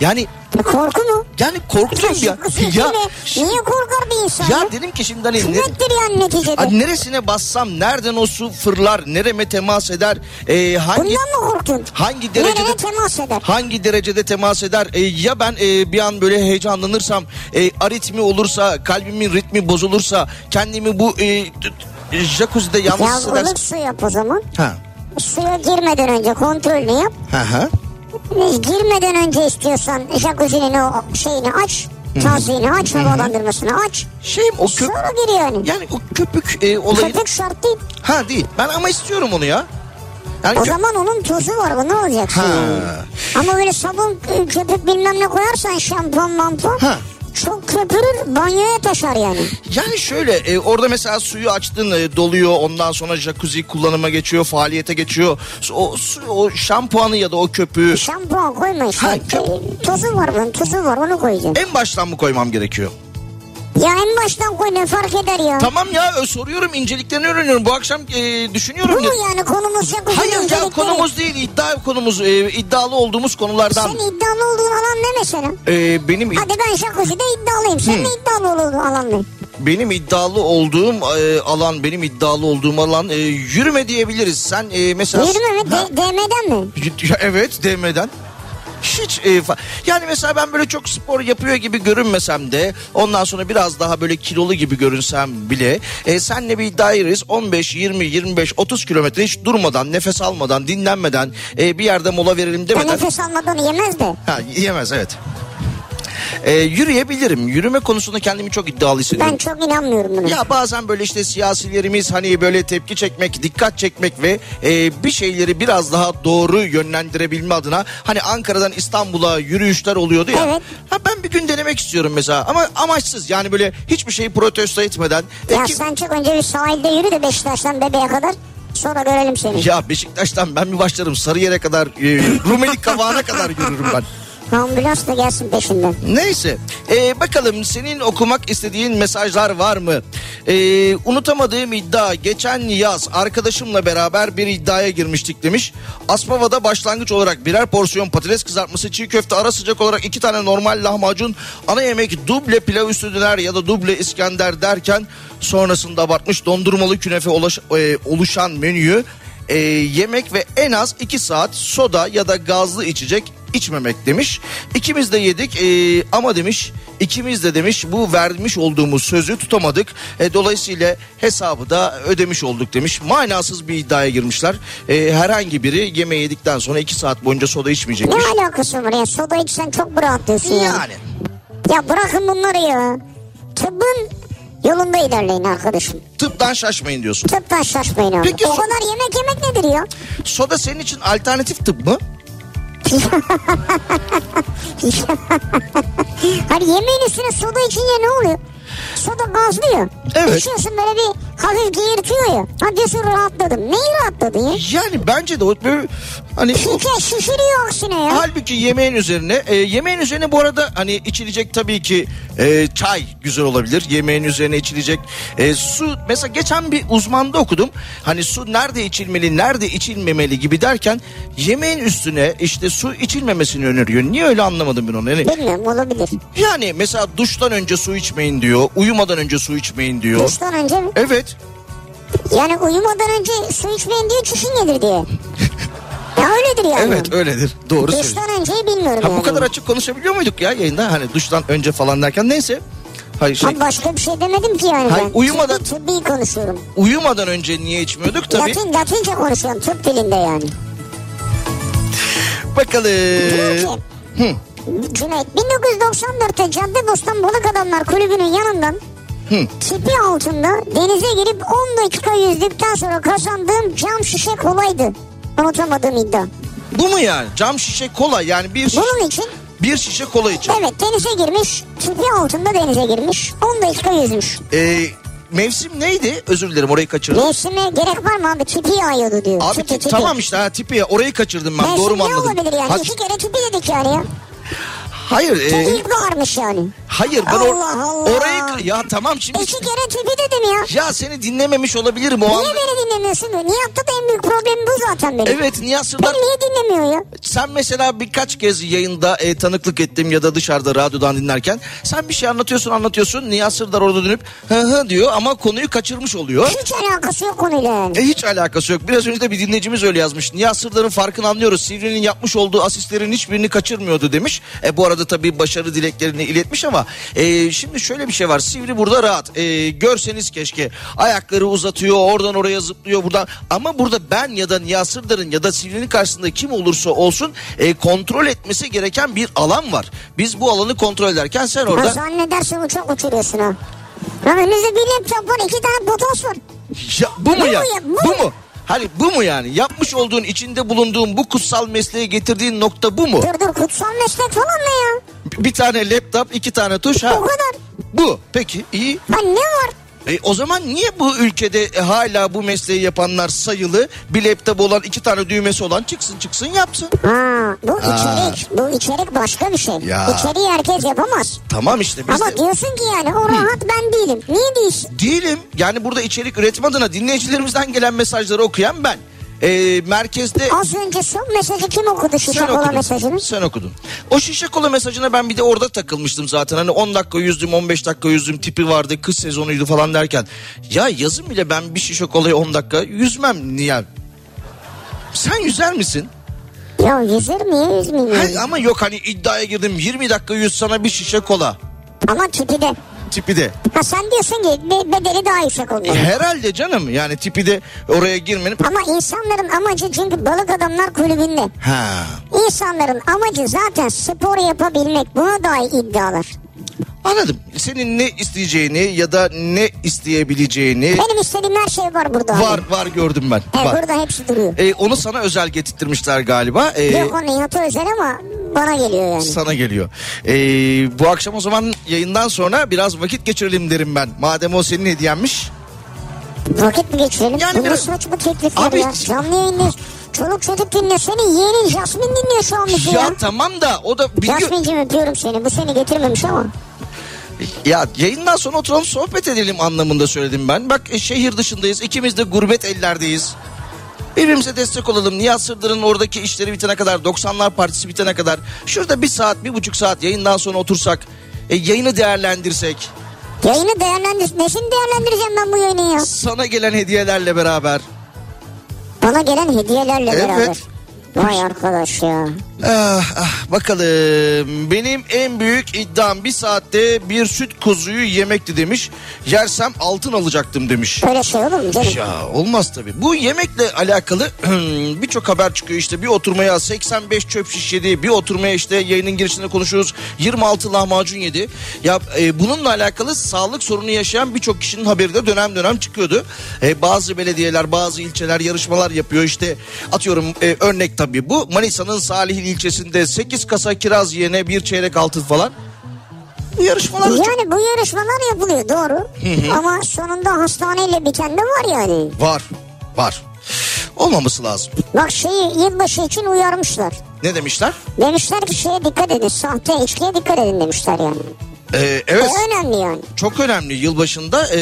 Speaker 4: Yani
Speaker 3: E, Korku mu?
Speaker 4: yani korktum ya.
Speaker 3: ya,
Speaker 4: Ya,
Speaker 3: niye korkar bir insan?
Speaker 4: ya dedim ki şimdi hani ne-
Speaker 3: Kıymettir yani neticede.
Speaker 4: Ay, neresine bassam nereden o su fırlar nereme temas eder e, hangi
Speaker 3: Bundan mı korktun?
Speaker 4: hangi derecede
Speaker 3: Nereye temas eder?
Speaker 4: hangi derecede temas eder E, ya ben e, bir an böyle heyecanlanırsam e, aritmi olursa kalbimin ritmi bozulursa kendimi bu e, t- t- jacuzzi'de yalnız
Speaker 3: Ya
Speaker 4: hissedersem
Speaker 3: ılık su yap o zaman.
Speaker 4: ha
Speaker 3: Suya girmeden önce kontrolünü yap.
Speaker 4: ha ha
Speaker 3: E, Girmeden önce istiyorsan jacuzzi'nin o şeyini aç. Tazini aç, havalandırmasını aç.
Speaker 4: şey o köp
Speaker 3: Sonra gir yani.
Speaker 4: yani o köpük e, olayı
Speaker 3: Köpük şart değil.
Speaker 4: ha değil ben ama istiyorum onu ya yani
Speaker 3: O
Speaker 4: köp-
Speaker 3: zaman onun tozu var bu ne olacak
Speaker 4: Ha.
Speaker 3: şimdi? Ama böyle sabun e, köpük bilmem ne koyarsan şampuan mampon
Speaker 4: Ha.
Speaker 3: çok köpürür banyoya taşar yani.
Speaker 4: Yani şöyle e, orada mesela suyu açtın e, doluyor ondan sonra jacuzzi kullanıma geçiyor faaliyete geçiyor. Su- O, su, o şampuanı ya da o köpüğü
Speaker 3: Şampuan koyma işte.
Speaker 4: Ha, kö-
Speaker 3: E, Tozu var bunun tozu var onu koyacaksın.
Speaker 4: en baştan mı koymam gerekiyor?
Speaker 3: Ya en baştan koy ne fark eder ya.
Speaker 4: E- Tamam ya e, soruyorum inceliklerini öğreniyorum bu akşam e,
Speaker 3: Bu
Speaker 4: düşünüyorum.
Speaker 3: mu
Speaker 4: ya.
Speaker 3: yani konumuz jacuzzi'nin
Speaker 4: Hayır ya
Speaker 3: incelikleri?
Speaker 4: konumuz değil iddia konumuz e, iddialı olduğumuz konulardan.
Speaker 3: Senin iddialı olduğun alan ne mesela?
Speaker 4: E, benim id-
Speaker 3: Hadi ben jacuzzi'de iddialıyım. Sen de iddialı olduğun alan ne?
Speaker 4: benim iddialı olduğum e, alan benim iddialı olduğum alan e, yürüme diyebiliriz. Sen e, mesela
Speaker 3: Yürüme mi?
Speaker 4: Ha?
Speaker 3: D- DM'den mi?
Speaker 4: Ya evet DM'den. Hiç e, fa- yani mesela ben böyle çok spor yapıyor gibi görünmesem de ondan sonra biraz daha böyle kilolu gibi görünsem bile e, senle bir iddia gireriz. 15 20 25 30 kilometre hiç durmadan nefes almadan dinlenmeden e, bir yerde mola verelim
Speaker 3: Ben
Speaker 4: demeden
Speaker 3: nefes almadan yemez de.
Speaker 4: ha, yiyemez evet. E, yürüyebilirim. Yürüme konusunda kendimi çok iddialı hissediyorum.
Speaker 3: Ben çok inanmıyorum buna.
Speaker 4: Ya bazen böyle işte siyasilerimiz hani böyle tepki çekmek, dikkat çekmek ve e, bir şeyleri biraz daha doğru yönlendirebilme adına hani Ankara'dan İstanbul'a yürüyüşler oluyordu ya.
Speaker 3: Evet.
Speaker 4: Ha ben bir gün denemek istiyorum mesela ama amaçsız yani böyle hiçbir şeyi protesto etmeden. E,
Speaker 3: Ya
Speaker 4: kim-
Speaker 3: sen çık önce bir sahilde yürü de Beşiktaş'tan bebeğe kadar. Sonra görelim seni.
Speaker 4: Ya Beşiktaş'tan ben bir başlarım Sarıyer'e kadar, e, Rumeli Kavağı'na kadar yürürüm ben.
Speaker 3: Ambulans da gelsin peşinden.
Speaker 4: Neyse ee, bakalım senin okumak istediğin mesajlar var mı? Ee, unutamadığım iddia geçen yaz arkadaşımla beraber bir iddiaya girmiştik demiş. Aspava'da başlangıç olarak birer porsiyon patates kızartması çiğ köfte ara sıcak olarak iki tane normal lahmacun ana yemek duble pilav üstü döner ya da duble İskender derken sonrasında abartmış dondurmalı künefe ulaş- e, oluşan menüyü e, yemek ve en az 2 saat soda ya da gazlı içecek içmemek demiş. İkimiz de yedik e, ama demiş ikimiz de demiş bu vermiş olduğumuz sözü tutamadık. E, dolayısıyla hesabı da ödemiş olduk demiş. Manasız bir iddiaya girmişler. E, herhangi biri yemeği yedikten sonra 2 saat boyunca soda
Speaker 3: Ne
Speaker 4: içmeyecekmiş.
Speaker 3: alakası var ya? Soda içsen çok rahatlıyorsun ya.
Speaker 4: Yani
Speaker 3: Ya bırakın bunları ya. Tıbbın yolunda ilerleyin arkadaşım.
Speaker 4: tıptan şaşmayın diyorsun.
Speaker 3: Tıptan şaşmayın abi.
Speaker 4: Peki
Speaker 3: o
Speaker 4: so-
Speaker 3: kadar yemek yemek nedir ya?
Speaker 4: Soda senin için alternatif tıp mı?
Speaker 3: Hani yemeğin üstüne soda içince ne oluyor? Soda gazlı ya.
Speaker 4: Evet.
Speaker 3: İçiyorsun böyle bir hafif geğirtiyor ya. Ha diyorsun rahatladım. Neyi rahatladın ya?
Speaker 4: Yani bence de o böyle hani
Speaker 3: Şike şişiriyor aksine ya.
Speaker 4: Halbuki yemeğin üzerine e, yemeğin üzerine bu arada hani içilecek tabii ki e, çay güzel olabilir. Yemeğin üzerine içilecek e, su mesela geçen bir uzmanda okudum. Hani su nerede içilmeli, nerede içilmemeli gibi derken yemeğin üstüne işte su içilmemesini öneriyor. Niye öyle anlamadım ben onu. Yani,
Speaker 3: Bilmiyorum olabilir.
Speaker 4: yani mesela duştan önce su içmeyin diyor. Uyumadan önce su içmeyin diyor.
Speaker 3: Duştan önce mi?
Speaker 4: Evet.
Speaker 3: Yani uyumadan önce su içmeyin diye çişin gelir diye. Ya öyledir yani.
Speaker 4: Evet öyledir. Doğru söylüyorsun.
Speaker 3: Duştan önceyi bilmiyorum
Speaker 4: Ha,
Speaker 3: yani.
Speaker 4: bu kadar açık konuşabiliyor muyduk ya yayında? Hani duştan önce falan derken neyse. Hayır şey,
Speaker 3: Abi başka bir şey demedim ki yani
Speaker 4: Hayır,
Speaker 3: ben.
Speaker 4: uyumadan-
Speaker 3: Tıbbi, tıbbi konuşuyorum.
Speaker 4: uyumadan önce niye içmiyorduk tabii.
Speaker 3: Latin, Latince konuşuyorum tıp dilinde yani.
Speaker 4: Bakalım.
Speaker 3: Diyor ki, Cüneyt 1994'te Caddebostan Balık Adamlar Kulübü'nün yanından tipi altında denize girip 10 dakika yüzdükten sonra kazandığım cam şişe kolaydı. Unutamadığım iddia.
Speaker 4: Bu mu yani? Cam şişe kola yani bir şişe,
Speaker 3: Bunun için
Speaker 4: bir şişe kola için.
Speaker 3: evet denize girmiş, tipi altında denize girmiş, 10 dakika yüzmüş.
Speaker 4: Ee, mevsim neydi? Özür dilerim orayı kaçırdım.
Speaker 3: Mevsime gerek var mı abi tipi yağıyordu diyor.
Speaker 4: Abi
Speaker 3: tipi,
Speaker 4: ti-
Speaker 3: tipi.
Speaker 4: tamam işte ha tipi ya orayı kaçırdım ben
Speaker 3: Mevsim
Speaker 4: doğru mu
Speaker 3: ne
Speaker 4: anladım?
Speaker 3: olabilir yani?
Speaker 4: Ha-
Speaker 3: İki kere tipi dedik yani ya.
Speaker 4: hayır e,
Speaker 3: Tipi ilkbaharmış yani.
Speaker 4: hayır ben or-
Speaker 3: Allah Allah.
Speaker 4: orayı ka- ya tamam şimdi
Speaker 3: İki kere tipi dedim ya.
Speaker 4: ya seni dinlememiş olabilirim o
Speaker 3: Niye
Speaker 4: an.
Speaker 3: beni dinlemiyorsun? Niye yaptı da en büyük problemim bu zaten benim.
Speaker 4: Evet Nihat Sırdar
Speaker 3: Beni niye dinlemiyor ya?
Speaker 4: sen mesela birkaç kez yayında e, tanıklık ettim ya da dışarıda radyodan dinlerken sen bir şey anlatıyorsun anlatıyorsun Nihat Sırdar orada dönüp hı hı diyor ama konuyu kaçırmış oluyor.
Speaker 3: Hiç alakası yok konuyla yani.
Speaker 4: E hiç alakası yok. Biraz önce de bir dinleyicimiz öyle yazmış. Nihat Sırdar'ın farkını anlıyoruz. Sivri'nin yapmış olduğu asistlerin hiçbirini kaçırmıyordu demiş. E bu arada tabii başarı dileklerini iletmiş ama e, şimdi şöyle bir şey var. Sivri burada rahat. E, görseniz keşke. Ayakları uzatıyor, oradan oraya zıplıyor, buradan. Ama burada ben ya da Nihat Sırdar'ın ya da Sivri'nin karşısında kim olursa olsun e, kontrol etmesi gereken bir alan var. Biz bu alanı kontrol ederken sen
Speaker 3: Ya
Speaker 4: orada
Speaker 3: zannedersin uçak uçuruyorsun ha. Lan önünüzde bir laptop var iki tane botos var.
Speaker 4: Ya, bu mu
Speaker 3: Bu
Speaker 4: ya?
Speaker 3: mu ya? Bu
Speaker 4: Bu
Speaker 3: mu?
Speaker 4: mu? Hani bu mu yani? Yapmış olduğun, içinde bulunduğun bu kutsal mesleği getirdiğin nokta bu mu?
Speaker 3: Dur dur kutsal meslek falan ne ya?
Speaker 4: B- Bir tane laptop, iki tane tuş. Ha.
Speaker 3: O kadar.
Speaker 4: Bu. Peki iyi.
Speaker 3: Lan ne var?
Speaker 4: E, o zaman niye bu ülkede e, hala bu mesleği yapanlar sayılı? Bir laptop olan, iki tane düğmesi olan çıksın çıksın yapsın.
Speaker 3: Ha, bu içerik. Bu içerik başka bir şey.
Speaker 4: Ya.
Speaker 3: İçeriği herkes yapamaz.
Speaker 4: Tamam işte biz
Speaker 3: Ama
Speaker 4: de...
Speaker 3: diyorsun ki yani o rahat ben değilim. Niye değilsin?
Speaker 4: değilim. Yani burada içerik üretim adına dinleyicilerimizden gelen mesajları okuyan ben. E, merkezde
Speaker 3: Az önce son mesajı kim okudu şişe
Speaker 4: Sen
Speaker 3: kola
Speaker 4: okudun.
Speaker 3: mesajını?
Speaker 4: Sen okudun. O şişe kola mesajına ben bir de orada takılmıştım zaten. Hani 10 dakika yüzdüm 15 dakika yüzdüm tipi vardı kış sezonuydu falan derken. Ya yazın bile ben bir şişe kolayı 10 dakika yüzmem niye? Sen yüzer misin?
Speaker 3: Ya yüzer miyim yüzmeyeyim
Speaker 4: Ha,
Speaker 3: yani?
Speaker 4: ama yok hani iddiaya girdim 20 dakika yüz sana bir şişe kola.
Speaker 3: Ama tipi de.
Speaker 4: Tipi de.
Speaker 3: Ha sen diyorsun ki be- bedeli daha yüksek
Speaker 4: E,
Speaker 3: olmalı.
Speaker 4: herhalde canım yani tipi de oraya girmenin.
Speaker 3: Ama insanların amacı çünkü balık adamlar kulübünde.
Speaker 4: Ha.
Speaker 3: İnsanların amacı zaten spor yapabilmek. Buna dair iddialar.
Speaker 4: Anladım. Senin ne isteyeceğini ya da ne isteyebileceğini
Speaker 3: Benim istediğim her şey var burada. abi.
Speaker 4: var var gördüm ben.
Speaker 3: Evet,
Speaker 4: Var.
Speaker 3: burada hepsi duruyor.
Speaker 4: E, onu sana özel getirtmişler galiba. E,
Speaker 3: Yok o Nihat'a özel ama bana geliyor yani.
Speaker 4: sana geliyor. E, bu akşam o zaman yayından sonra biraz vakit geçirelim derim ben. Madem o senin hediyenmiş.
Speaker 3: Vakit mi geçirelim?
Speaker 4: Yani
Speaker 3: Bu
Speaker 4: biraz-
Speaker 3: nasıl açma teklifler
Speaker 4: Abi-
Speaker 3: ya? Canlı yayınlıyoruz. Çoluk çocuk dinliyor. Senin yeğenin Jasmine dinliyor şu an bizi
Speaker 4: Ya,
Speaker 3: ya.
Speaker 4: tamam da o da biliyor.
Speaker 3: Jasmine'cim öpüyorum seni. Bu seni getirmemiş ama.
Speaker 4: Ya yayından sonra oturalım sohbet edelim anlamında söyledim ben. Bak e, şehir dışındayız. ikimiz de gurbet ellerdeyiz. Birbirimize destek olalım. Nihat Sırdar'ın oradaki işleri bitene kadar, 90'lar partisi bitene kadar. Şurada bir saat, bir buçuk saat yayından sonra otursak. e, yayını değerlendirsek.
Speaker 3: Yayını değerlendir. Nesini değerlendireceğim ben bu yayını ya?
Speaker 4: Sana gelen hediyelerle beraber.
Speaker 3: Bana gelen hediyelerle
Speaker 4: Evet.
Speaker 3: beraber. Vay arkadaş ya.
Speaker 4: Ah, ah, bakalım benim en büyük iddiam bir saatte bir süt kuzuyu yemekti demiş. Yersem altın alacaktım demiş.
Speaker 3: Öyle şey olur mu canım?
Speaker 4: Ya olmaz tabii. Bu yemekle alakalı birçok haber çıkıyor işte. Bir oturmaya 85 çöp şiş yedi. Bir oturmaya işte yayının girişinde konuşuyoruz. 26 lahmacun yedi. Ya e, bununla alakalı sağlık sorunu yaşayan birçok kişinin haberi de dönem dönem çıkıyordu. E, bazı belediyeler, bazı ilçeler yarışmalar yapıyor. İşte atıyorum e, örnek tabii bu. Manisa'nın Salihli ilçesinde 8 kasa kiraz yerine bir çeyrek altın falan. Bu yarışmalar da çok-
Speaker 3: Yani bu yarışmalar yapılıyor doğru. Ama sonunda hastaneyle biten de var yani.
Speaker 4: var. Var. Olmaması lazım.
Speaker 3: Bak şeyi yılbaşı için uyarmışlar.
Speaker 4: Ne demişler?
Speaker 3: Demişler ki şeye dikkat edin. Sahte içkiye dikkat edin demişler yani.
Speaker 4: E,
Speaker 3: E,
Speaker 4: evet.
Speaker 3: önemli yani.
Speaker 4: çok önemli yılbaşında e,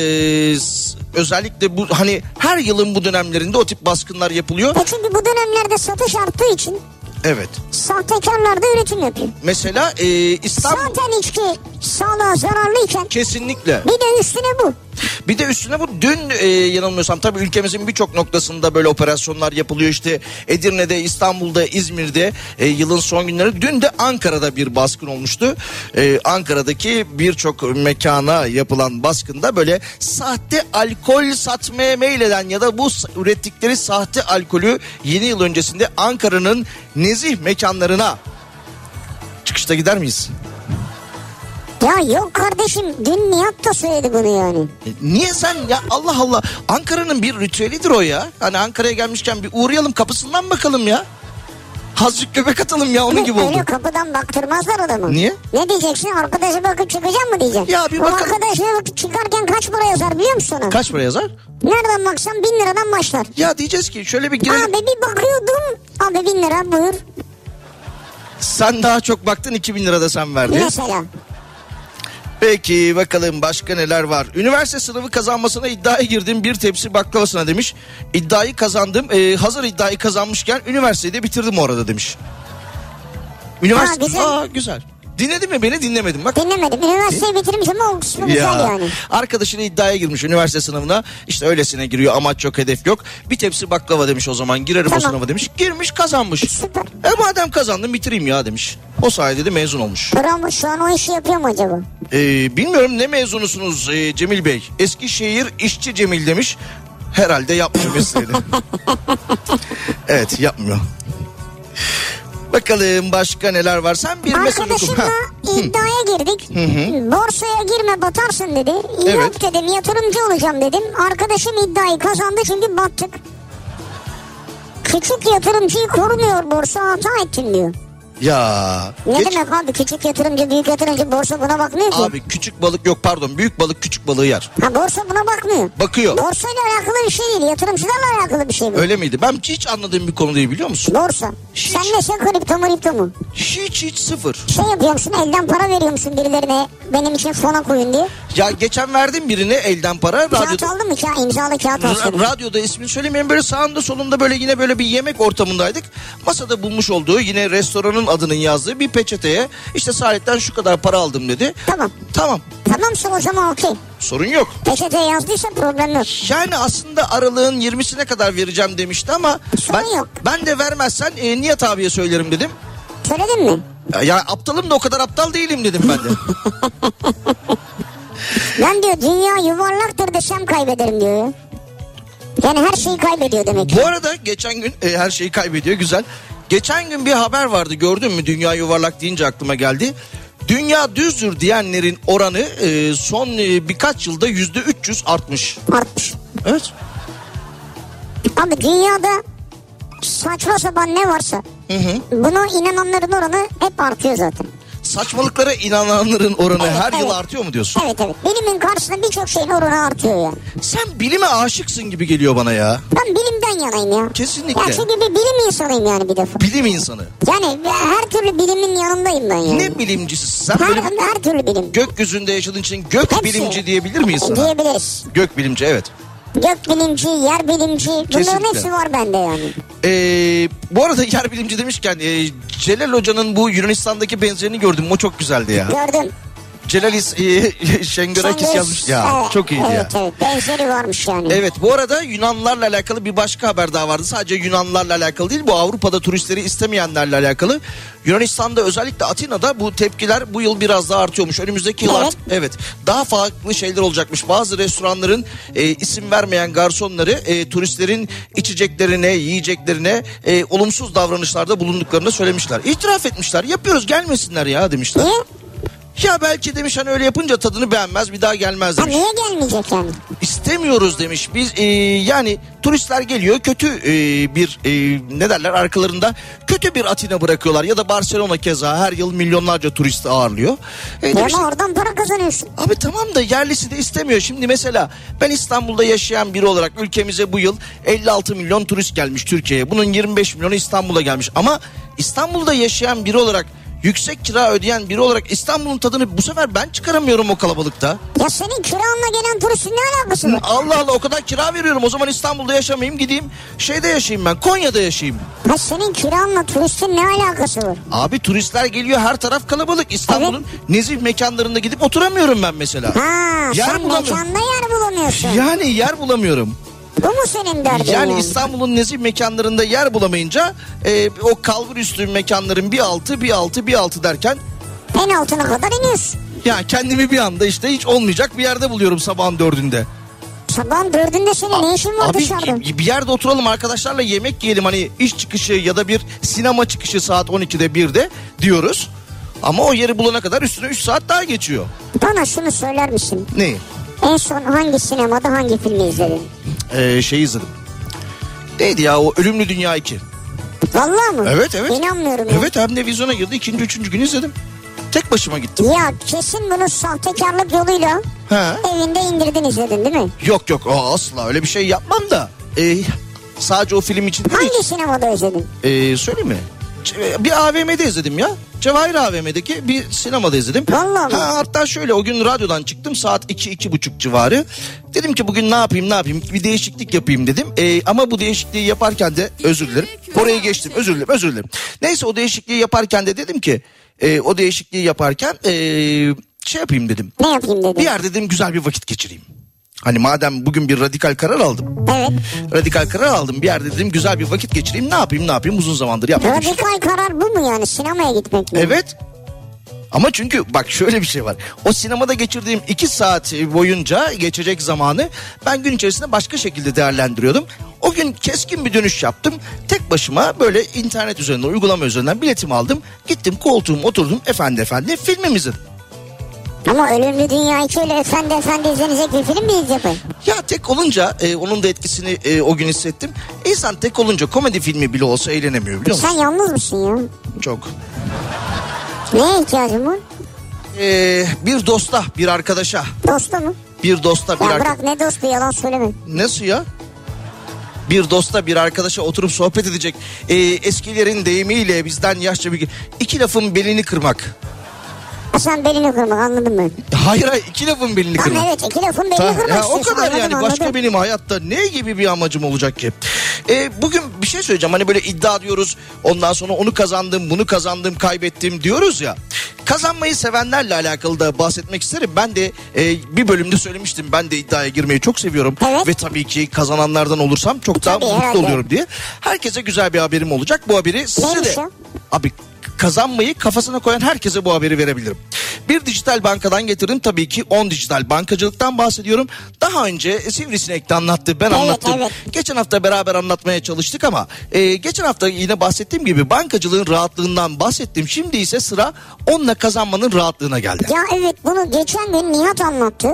Speaker 4: s- özellikle bu hani her yılın bu dönemlerinde o tip baskınlar yapılıyor.
Speaker 3: E çünkü bu dönemlerde satış arttığı için
Speaker 4: Evet.
Speaker 3: sahtekarlar da üretim yapıyor.
Speaker 4: Mesela e, İstanbul
Speaker 3: Zaten içki sağlığa zararlıyken
Speaker 4: kesinlikle
Speaker 3: bir de üstüne bu.
Speaker 4: Bir de üstüne bu dün e, yanılmıyorsam tabii ülkemizin birçok noktasında böyle operasyonlar yapılıyor. İşte Edirne'de, İstanbul'da, İzmir'de e, yılın son günleri. Dün de Ankara'da bir baskın olmuştu. E, Ankara'daki birçok mekana yapılan baskında böyle sahte alkol satmaya meyleden ya da bu s- ürettikleri sahte alkolü yeni yıl öncesinde Ankara'nın nezih mekanlarına çıkışta gider miyiz?
Speaker 3: Ya yok kardeşim dün Nihat da söyledi bunu yani.
Speaker 4: E, Niye sen ya Allah Allah Ankara'nın bir ritüelidir o ya. Hani Ankara'ya gelmişken bir uğrayalım kapısından bakalım ya. Hazır göbek atalım ya onun gibi
Speaker 3: Öyle
Speaker 4: oldu.
Speaker 3: kapıdan baktırmazlar adamı.
Speaker 4: Niye?
Speaker 3: Ne diyeceksin arkadaşa bakıp çıkacağım mı diyeceksin.
Speaker 4: Ya bir
Speaker 3: Bu
Speaker 4: bakalım.
Speaker 3: arkadaşa bakıp çıkarken kaç para yazar biliyor musun ona?
Speaker 4: Kaç para yazar?
Speaker 3: Nereden baksan bin liradan başlar.
Speaker 4: Ya diyeceğiz ki şöyle bir girelim.
Speaker 3: Abi bir bakıyordum. Abi bin lira buyur.
Speaker 4: Sen daha çok baktın 2000 lira da sen verdin.
Speaker 3: Mesela.
Speaker 4: Peki bakalım başka neler var. Üniversite sınavı kazanmasına iddiaya girdim bir tepsi baklavasına demiş. İddiayı kazandım. Ee, hazır iddiayı kazanmışken üniversiteyi de bitirdim orada demiş. Üniversite.
Speaker 3: Aa, güzel.
Speaker 4: Aa, güzel. Dinledin mi beni dinlemedim bak.
Speaker 3: Dinlemedim. Üniversiteyi bitirmiş ama o kısmı güzel yani.
Speaker 4: Arkadaşını iddiaya girmiş üniversite sınavına. İşte öylesine giriyor amaç yok hedef yok. Bir tepsi baklava demiş o zaman girerim o
Speaker 3: Tamam.
Speaker 4: sınava demiş. Girmiş kazanmış.
Speaker 3: Süper.
Speaker 4: E madem kazandım bitireyim ya demiş. O sayede de mezun olmuş.
Speaker 3: Bravo şu an o işi yapıyor mu acaba?
Speaker 4: Ee, bilmiyorum ne mezunusunuz e, Cemil Bey? Eskişehir işçi Cemil demiş. Herhalde yapmıyor mesleğini. evet yapmıyor. Bakalım başka neler var. Sen bir mesaj oku.
Speaker 3: Arkadaşımla
Speaker 4: Ha.
Speaker 3: iddiaya girdik. Borsaya girme batarsın dedi. Yok
Speaker 4: Evet.
Speaker 3: dedim yatırımcı olacağım dedim. Arkadaşım iddiayı kazandı çünkü battık. Küçük yatırımcıyı korumuyor borsa hata ettin diyor.
Speaker 4: Ya.
Speaker 3: Ne
Speaker 4: geç-
Speaker 3: demek abi küçük yatırımcı büyük yatırımcı borsa buna bakmıyor ki.
Speaker 4: Abi küçük balık yok pardon büyük balık küçük balığı yer.
Speaker 3: Ha borsa buna bakmıyor.
Speaker 4: Bakıyor.
Speaker 3: Borsayla alakalı bir şey değil yatırımcılarla alakalı bir şey bu.
Speaker 4: Öyle miydi? Ben hiç anladığım bir konu değil biliyor musun?
Speaker 3: Borsa.
Speaker 4: Hiç.
Speaker 3: Sen ne şey kripto kripto mu?
Speaker 4: Hiç hiç sıfır.
Speaker 3: Şey yapıyor musun elden para veriyor musun birilerine benim için fona koyun diye.
Speaker 4: Ya geçen verdim birine elden para.
Speaker 3: Kağıt
Speaker 4: Radyoda,
Speaker 3: aldın mı? Kağıt, imzalı kağıt
Speaker 4: ra-
Speaker 3: alsın.
Speaker 4: radyoda ismini söylemeyeyim böyle sağında solunda böyle yine böyle bir yemek ortamındaydık. Masada bulmuş olduğu yine restoranın adının yazdığı bir peçeteye işte Saadet'ten şu kadar para aldım dedi.
Speaker 3: Tamam.
Speaker 4: Tamam
Speaker 3: Tamamsa o zaman okey.
Speaker 4: sorun yok.
Speaker 3: Peçete yazdıysa problem yok.
Speaker 4: Yani aslında aralığın 20'sine kadar vereceğim demişti ama
Speaker 3: Sorun
Speaker 4: ben,
Speaker 3: yok.
Speaker 4: ben de vermezsen e, Nihat abiye söylerim dedim.
Speaker 3: Söyledin mi?
Speaker 4: Ya, ya aptalım da o kadar aptal değilim dedim ben de.
Speaker 3: Ben diyor dünya yuvarlaktır desem kaybederim diyor. ya. Yani her şeyi kaybediyor demek.
Speaker 4: Bu arada geçen gün e, her şeyi kaybediyor güzel. Geçen gün bir haber vardı gördün mü dünya yuvarlak deyince aklıma geldi. Dünya düzdür diyenlerin oranı e, son e, birkaç yılda yüzde 300 artmış.
Speaker 3: Artmış.
Speaker 4: Evet.
Speaker 3: Abi dünyada saçma sapan ne varsa buna inananların oranı hep artıyor zaten.
Speaker 4: Saçmalıklara inananların oranı
Speaker 3: Evet,
Speaker 4: her yıl
Speaker 3: evet.
Speaker 4: artıyor mu diyorsun?
Speaker 3: Evet evet. Bilimin karşısında birçok şeyin oranı artıyor yani.
Speaker 4: Sen bilime aşıksın gibi geliyor bana ya.
Speaker 3: Ben bilimden yanayım ya.
Speaker 4: Kesinlikle.
Speaker 3: Ya çünkü bir bilim insanıyım yani bir defa.
Speaker 4: Bilim insanı.
Speaker 3: Yani her türlü bilimin yanındayım ben yani.
Speaker 4: Ne bilimcisi sen?
Speaker 3: Her,
Speaker 4: Böyle
Speaker 3: her türlü bilim.
Speaker 4: gökyüzünde yaşadığın için gök
Speaker 3: Hepsi.
Speaker 4: bilimci diyebilir miyiz sana?
Speaker 3: Diyebiliriz.
Speaker 4: Gök bilimci evet.
Speaker 3: Gök bilimci, yer bilimci bunların
Speaker 4: Kesinlikle.
Speaker 3: hepsi var bende yani.
Speaker 4: Ee, bu arada yer bilimci demişken e, Celal Hoca'nın bu Yunanistan'daki benzerini gördüm. O çok güzeldi ya.
Speaker 3: Gördüm.
Speaker 4: Celalis e, Şengörakis
Speaker 3: Sen
Speaker 4: yazmış
Speaker 3: de-
Speaker 4: ya.
Speaker 3: Evet,
Speaker 4: Çok iyiydi
Speaker 3: evet,
Speaker 4: ya.
Speaker 3: Evet benzeri varmış yani.
Speaker 4: Evet bu arada Yunanlarla alakalı bir başka haber daha vardı. Sadece Yunanlarla alakalı değil bu Avrupa'da turistleri istemeyenlerle alakalı. Yunanistan'da özellikle Atina'da bu tepkiler bu yıl biraz daha artıyormuş. Önümüzdeki yıl
Speaker 3: Evet.
Speaker 4: artık evet daha farklı şeyler olacakmış. Bazı restoranların e, isim vermeyen garsonları e, turistlerin içeceklerine, yiyeceklerine e, olumsuz davranışlarda bulunduklarını söylemişler. İtiraf etmişler. Yapıyoruz gelmesinler ya demişler.
Speaker 3: Niye?
Speaker 4: Ya belki demiş hani öyle yapınca tadını beğenmez bir daha gelmez
Speaker 3: Ha
Speaker 4: demiş.
Speaker 3: niye gelmeyecek yani?
Speaker 4: İstemiyoruz demiş. Biz e, yani turistler geliyor kötü e, bir e, ne derler arkalarında kötü bir Atina bırakıyorlar ya da Barcelona keza her yıl milyonlarca turisti ağırlıyor. E,
Speaker 3: Ya
Speaker 4: demiş,
Speaker 3: ama oradan para kazanıyorsun.
Speaker 4: Abi tamam da yerlisi de istemiyor. Şimdi mesela ben İstanbul'da yaşayan biri olarak ülkemize bu yıl 56 milyon turist gelmiş Türkiye'ye. Bunun 25 milyonu İstanbul'a gelmiş. Ama İstanbul'da yaşayan biri olarak yüksek kira ödeyen biri olarak İstanbul'un tadını bu sefer ben çıkaramıyorum o kalabalıkta.
Speaker 3: Ya senin kiranla gelen turistin ne alakası var?
Speaker 4: Allah Allah o kadar kira veriyorum. O zaman İstanbul'da yaşamayayım gideyim şeyde yaşayayım ben Konya'da yaşayayım.
Speaker 3: Ha senin kiranla turistin ne alakası var?
Speaker 4: Abi turistler geliyor her taraf kalabalık. İstanbul'un nezih mekanlarında gidip oturamıyorum ben mesela.
Speaker 3: Ha
Speaker 4: Yer
Speaker 3: sen
Speaker 4: bulamıyorum.
Speaker 3: mekanda yer bulamıyorsun.
Speaker 4: Yani yer bulamıyorum.
Speaker 3: Bu mu senin derdin?
Speaker 4: Yani İstanbul'un nezih mekanlarında yer bulamayınca e, o kalbur üstü mekanların bir altı bir altı bir altı derken
Speaker 3: En altına kadar iniyorsun.
Speaker 4: ya kendimi bir anda işte hiç olmayacak bir yerde buluyorum sabahın dördünde.
Speaker 3: Sabahın dördünde senin ne işin var
Speaker 4: Abi
Speaker 3: dışarıda?
Speaker 4: bir yerde oturalım arkadaşlarla yemek yiyelim hani iş çıkışı ya da bir sinema çıkışı saat 12'de 1'de diyoruz. Ama o yeri bulana kadar üstüne 3 saat daha geçiyor.
Speaker 3: Bana şunu söyler misin?
Speaker 4: Neyi?
Speaker 3: En son hangi sinemada hangi filmi izledin?
Speaker 4: Ee, şey izledim. Neydi ya o Ölümlü Dünya 2.
Speaker 3: Vallahi mı?
Speaker 4: Evet evet.
Speaker 3: İnanmıyorum. ya.
Speaker 4: Evet hem de vizyona girdi ikinci üçüncü gün izledim. Tek başıma gittim.
Speaker 3: Ya kesin bunu sahtekarlık yoluyla
Speaker 4: Ha?
Speaker 3: evinde indirdin izledin değil mi?
Speaker 4: Yok yok o asla öyle bir şey yapmam da. Ee, sadece o film için değil.
Speaker 3: Hangi sinemada izledin?
Speaker 4: Ee, söyleyeyim mi? Ç- Bir AVM'de izledim ya. Cevahir AVM'deki bir sinemada izledim.
Speaker 3: Vallahi mi?
Speaker 4: Ha, hatta şöyle o gün radyodan çıktım saat 2-2.30 civarı. Dedim ki bugün ne yapayım ne yapayım bir değişiklik yapayım dedim. Ee, ama bu değişikliği yaparken de özür dilerim. Orayı geçtim özür dilerim özür dilerim. Neyse o değişikliği yaparken de dedim ki e, o değişikliği yaparken e, şey yapayım dedim.
Speaker 3: Ne yapayım
Speaker 4: Bir
Speaker 3: dedin?
Speaker 4: yer dedim güzel bir vakit geçireyim. Hani madem bugün bir radikal karar aldım.
Speaker 3: Evet.
Speaker 4: Radikal karar aldım. Bir yerde dedim güzel bir vakit geçireyim. Ne yapayım ne yapayım uzun zamandır yapmadım.
Speaker 3: Radikal karar bu mu yani sinemaya gitmek mi?
Speaker 4: Evet. Ama çünkü bak şöyle bir şey var. O sinemada geçirdiğim iki saat boyunca geçecek zamanı ben gün içerisinde başka şekilde değerlendiriyordum. O gün keskin bir dönüş yaptım. Tek başıma böyle internet üzerinden, uygulama üzerinden biletimi aldım. Gittim koltuğuma oturdum efendi efendi filmimi izledim.
Speaker 3: Ama Ölümlü Dünya 2 ile Efendi Efendi izlenecek bir film mi izledin?
Speaker 4: Ya tek olunca e, onun da etkisini e, o gün hissettim. İnsan tek olunca komedi filmi bile olsa eğlenemiyor biliyor
Speaker 3: Sen
Speaker 4: musun?
Speaker 3: yalnız mısın ya?
Speaker 4: Çok.
Speaker 3: Neye ihtiyacın var?
Speaker 4: E, bir dosta, bir arkadaşa,
Speaker 3: Dosta mı?
Speaker 4: bir dosta, bir
Speaker 3: Ya
Speaker 4: arkadaşa.
Speaker 3: bırak ne dostu yalan söyleme.
Speaker 4: Nasıl ya? Bir dosta bir arkadaşa oturup sohbet edecek. Ee, eskilerin deyimiyle bizden yaşça bir... iki lafın belini kırmak.
Speaker 3: Ha, sen belini kırmak anladım ben.
Speaker 4: Hayır hayır iki lafın belini
Speaker 3: Tamam
Speaker 4: kırmak.
Speaker 3: evet iki lafın belini
Speaker 4: Ta-
Speaker 3: kırmak
Speaker 4: ya o
Speaker 3: istiyorsun,
Speaker 4: kadar
Speaker 3: anladım,
Speaker 4: yani
Speaker 3: anladım.
Speaker 4: başka benim hayatta ne gibi bir amacım olacak ki? Ee, bugün bir şey söyleyeceğim hani böyle iddia diyoruz ondan sonra onu kazandım bunu kazandım kaybettim diyoruz ya. Kazanmayı sevenlerle alakalı da bahsetmek isterim. Ben de e, bir bölümde söylemiştim ben de iddiaya girmeyi çok seviyorum.
Speaker 3: Evet.
Speaker 4: Ve tabii ki kazananlardan olursam çok daha
Speaker 3: Tabii,
Speaker 4: mutlu
Speaker 3: herhalde.
Speaker 4: oluyorum diye. Herkese güzel bir haberim olacak bu haberi size
Speaker 3: Neymiş
Speaker 4: de.
Speaker 3: o?
Speaker 4: Abi kazanmayı kafasına koyan herkese bu haberi verebilirim. Bir dijital bankadan getirdim tabii ki 10 dijital bankacılıktan bahsediyorum. Daha önce Sivrisinek'te anlattı ben
Speaker 3: Evet,
Speaker 4: anlattım.
Speaker 3: evet.
Speaker 4: Geçen hafta beraber anlatmaya çalıştık ama e, geçen hafta yine bahsettiğim gibi bankacılığın rahatlığından bahsettim. Şimdi ise sıra onunla kazanmanın rahatlığına geldi.
Speaker 3: Ya evet bunu geçen gün Nihat anlattı.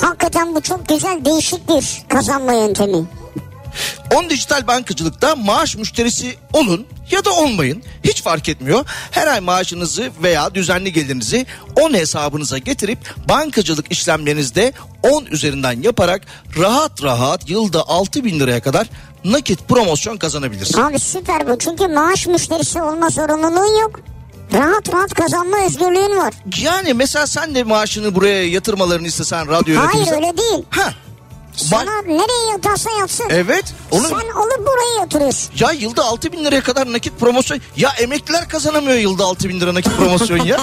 Speaker 3: Hakikaten bu çok güzel değişik bir kazanma yöntemi.
Speaker 4: 10 dijital bankacılıkta maaş müşterisi olun ya da olmayın hiç fark etmiyor. Her ay maaşınızı veya düzenli gelirinizi 10 hesabınıza getirip bankacılık işlemlerinizde 10 üzerinden yaparak rahat rahat yılda 6 bin liraya kadar nakit promosyon kazanabilirsiniz.
Speaker 3: Abi süper bu çünkü maaş müşterisi olma zorunluluğun yok. Rahat rahat kazanma özgürlüğün var.
Speaker 4: Yani mesela sen de maaşını buraya yatırmalarını istesen
Speaker 3: Hayır
Speaker 4: radyo yönetimizden.
Speaker 3: öyle değil.
Speaker 4: Ha. Ban-
Speaker 3: Sana nereye yatarsa yatsın.
Speaker 4: Evet. Onu...
Speaker 3: Sen alıp buraya yatırıyorsun.
Speaker 4: Ya yılda 6 bin liraya kadar nakit promosyon. Ya emekliler kazanamıyor yılda 6 bin lira nakit promosyon ya.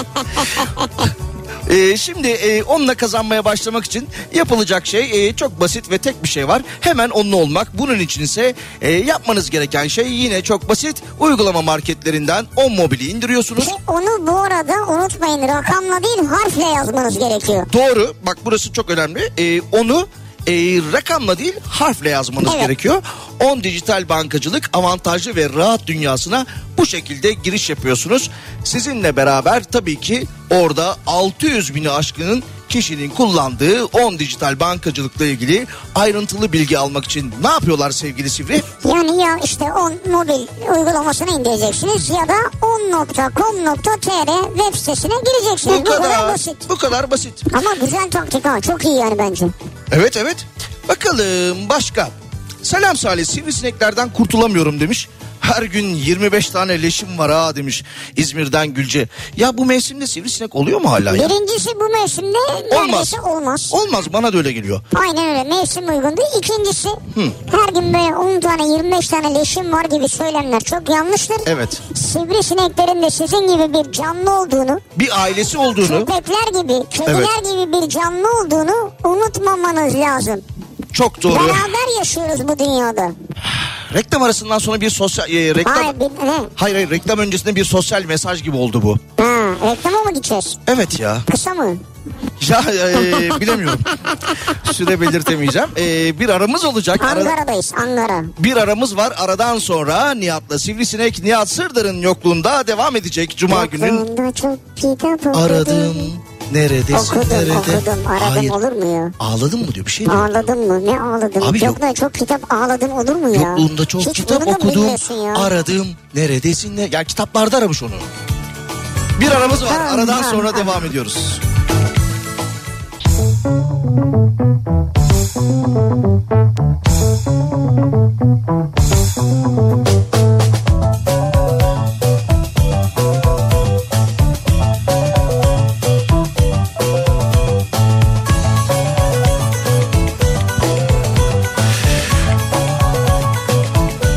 Speaker 4: Ee, şimdi e, onunla kazanmaya başlamak için yapılacak şey e, çok basit ve tek bir şey var. Hemen onunla olmak. Bunun için ise e, yapmanız gereken şey yine çok basit. Uygulama marketlerinden on mobili indiriyorsunuz.
Speaker 3: Ki şey, onu bu arada unutmayın rakamla değil harfle yazmanız gerekiyor.
Speaker 4: Doğru. Bak burası çok önemli. Ee, onu e, rakamla değil harfle yazmanız
Speaker 3: Evet.
Speaker 4: gerekiyor. 10 dijital bankacılık avantajlı ve rahat dünyasına bu şekilde giriş yapıyorsunuz. Sizinle beraber tabii ki orada 600 bini aşkının kişinin kullandığı 10 dijital bankacılıkla ilgili ayrıntılı bilgi almak için ne yapıyorlar sevgili Sivri?
Speaker 3: Yani ya işte 10 mobil uygulamasını indireceksiniz ya da 10.com.tr web sitesine gireceksiniz.
Speaker 4: Bu kadar,
Speaker 3: basit.
Speaker 4: bu kadar basit.
Speaker 3: Ama güzel taktik ha çok iyi yani bence.
Speaker 4: Evet evet. Bakalım başka. Selam Salih sivrisineklerden kurtulamıyorum demiş. her gün 25 tane leşim var ha demiş İzmir'den Gülce. Ya bu mevsimde sivrisinek oluyor mu hala ya?
Speaker 3: Birincisi bu mevsimde
Speaker 4: Olmaz.
Speaker 3: neredeyse olmaz.
Speaker 4: Olmaz bana da öyle geliyor.
Speaker 3: Aynen öyle mevsim uygun değil. İkincisi her gün böyle 10 tane 25 tane leşim var gibi söylemler çok yanlıştır.
Speaker 4: Evet.
Speaker 3: Sivrisineklerin de sizin gibi bir canlı olduğunu,
Speaker 4: Bir ailesi olduğunu
Speaker 3: köpekler gibi, kediler
Speaker 4: Evet.
Speaker 3: gibi bir canlı olduğunu unutmamanız lazım.
Speaker 4: çok doğru.
Speaker 3: Beraber yaşıyoruz bu dünyada.
Speaker 4: Reklam arasından sonra bir sosyal e, reklam
Speaker 3: Hayır, bir, ne?
Speaker 4: Hayır hayır reklam öncesinde bir sosyal mesaj gibi oldu bu.
Speaker 3: Ha, reklama mı gideceğiz?
Speaker 4: Evet ya.
Speaker 3: Kısa mı?
Speaker 4: Ya e, bilemiyorum. Süre belirtemeyeceğim. E, bir aramız olacak. Ara-
Speaker 3: Ankara'dayız, Ankara.
Speaker 4: bir aramız var. Aradan sonra Nihat'la Sivrisinek Nihat Sırdar'ın yokluğunda devam edecek. Cuma günün
Speaker 3: Aklımda çok kitap okudum.
Speaker 4: aradım. Neredesin?
Speaker 3: Okudum,
Speaker 4: nerede?
Speaker 3: okudum. Aradım
Speaker 4: Hayır.
Speaker 3: olur mu ya?
Speaker 4: Ağladın mı diyor bir şey diyor.
Speaker 3: Ağladın mı? Ne ağladın?
Speaker 4: Abi
Speaker 3: yok,
Speaker 4: yok.
Speaker 3: lan, çok kitap ağladın olur mu ya?
Speaker 4: Yokluğunda çok
Speaker 3: Hiç
Speaker 4: kitap
Speaker 3: bunu da mı
Speaker 4: okudum.
Speaker 3: bilmiyorsun ya?
Speaker 4: Aradım. Neredesin? Ne? Ya kitaplarda aramış onu. Bir aramız var.
Speaker 3: Ha,
Speaker 4: Aradan
Speaker 3: ha,
Speaker 4: sonra
Speaker 3: ha.
Speaker 4: devam ediyoruz.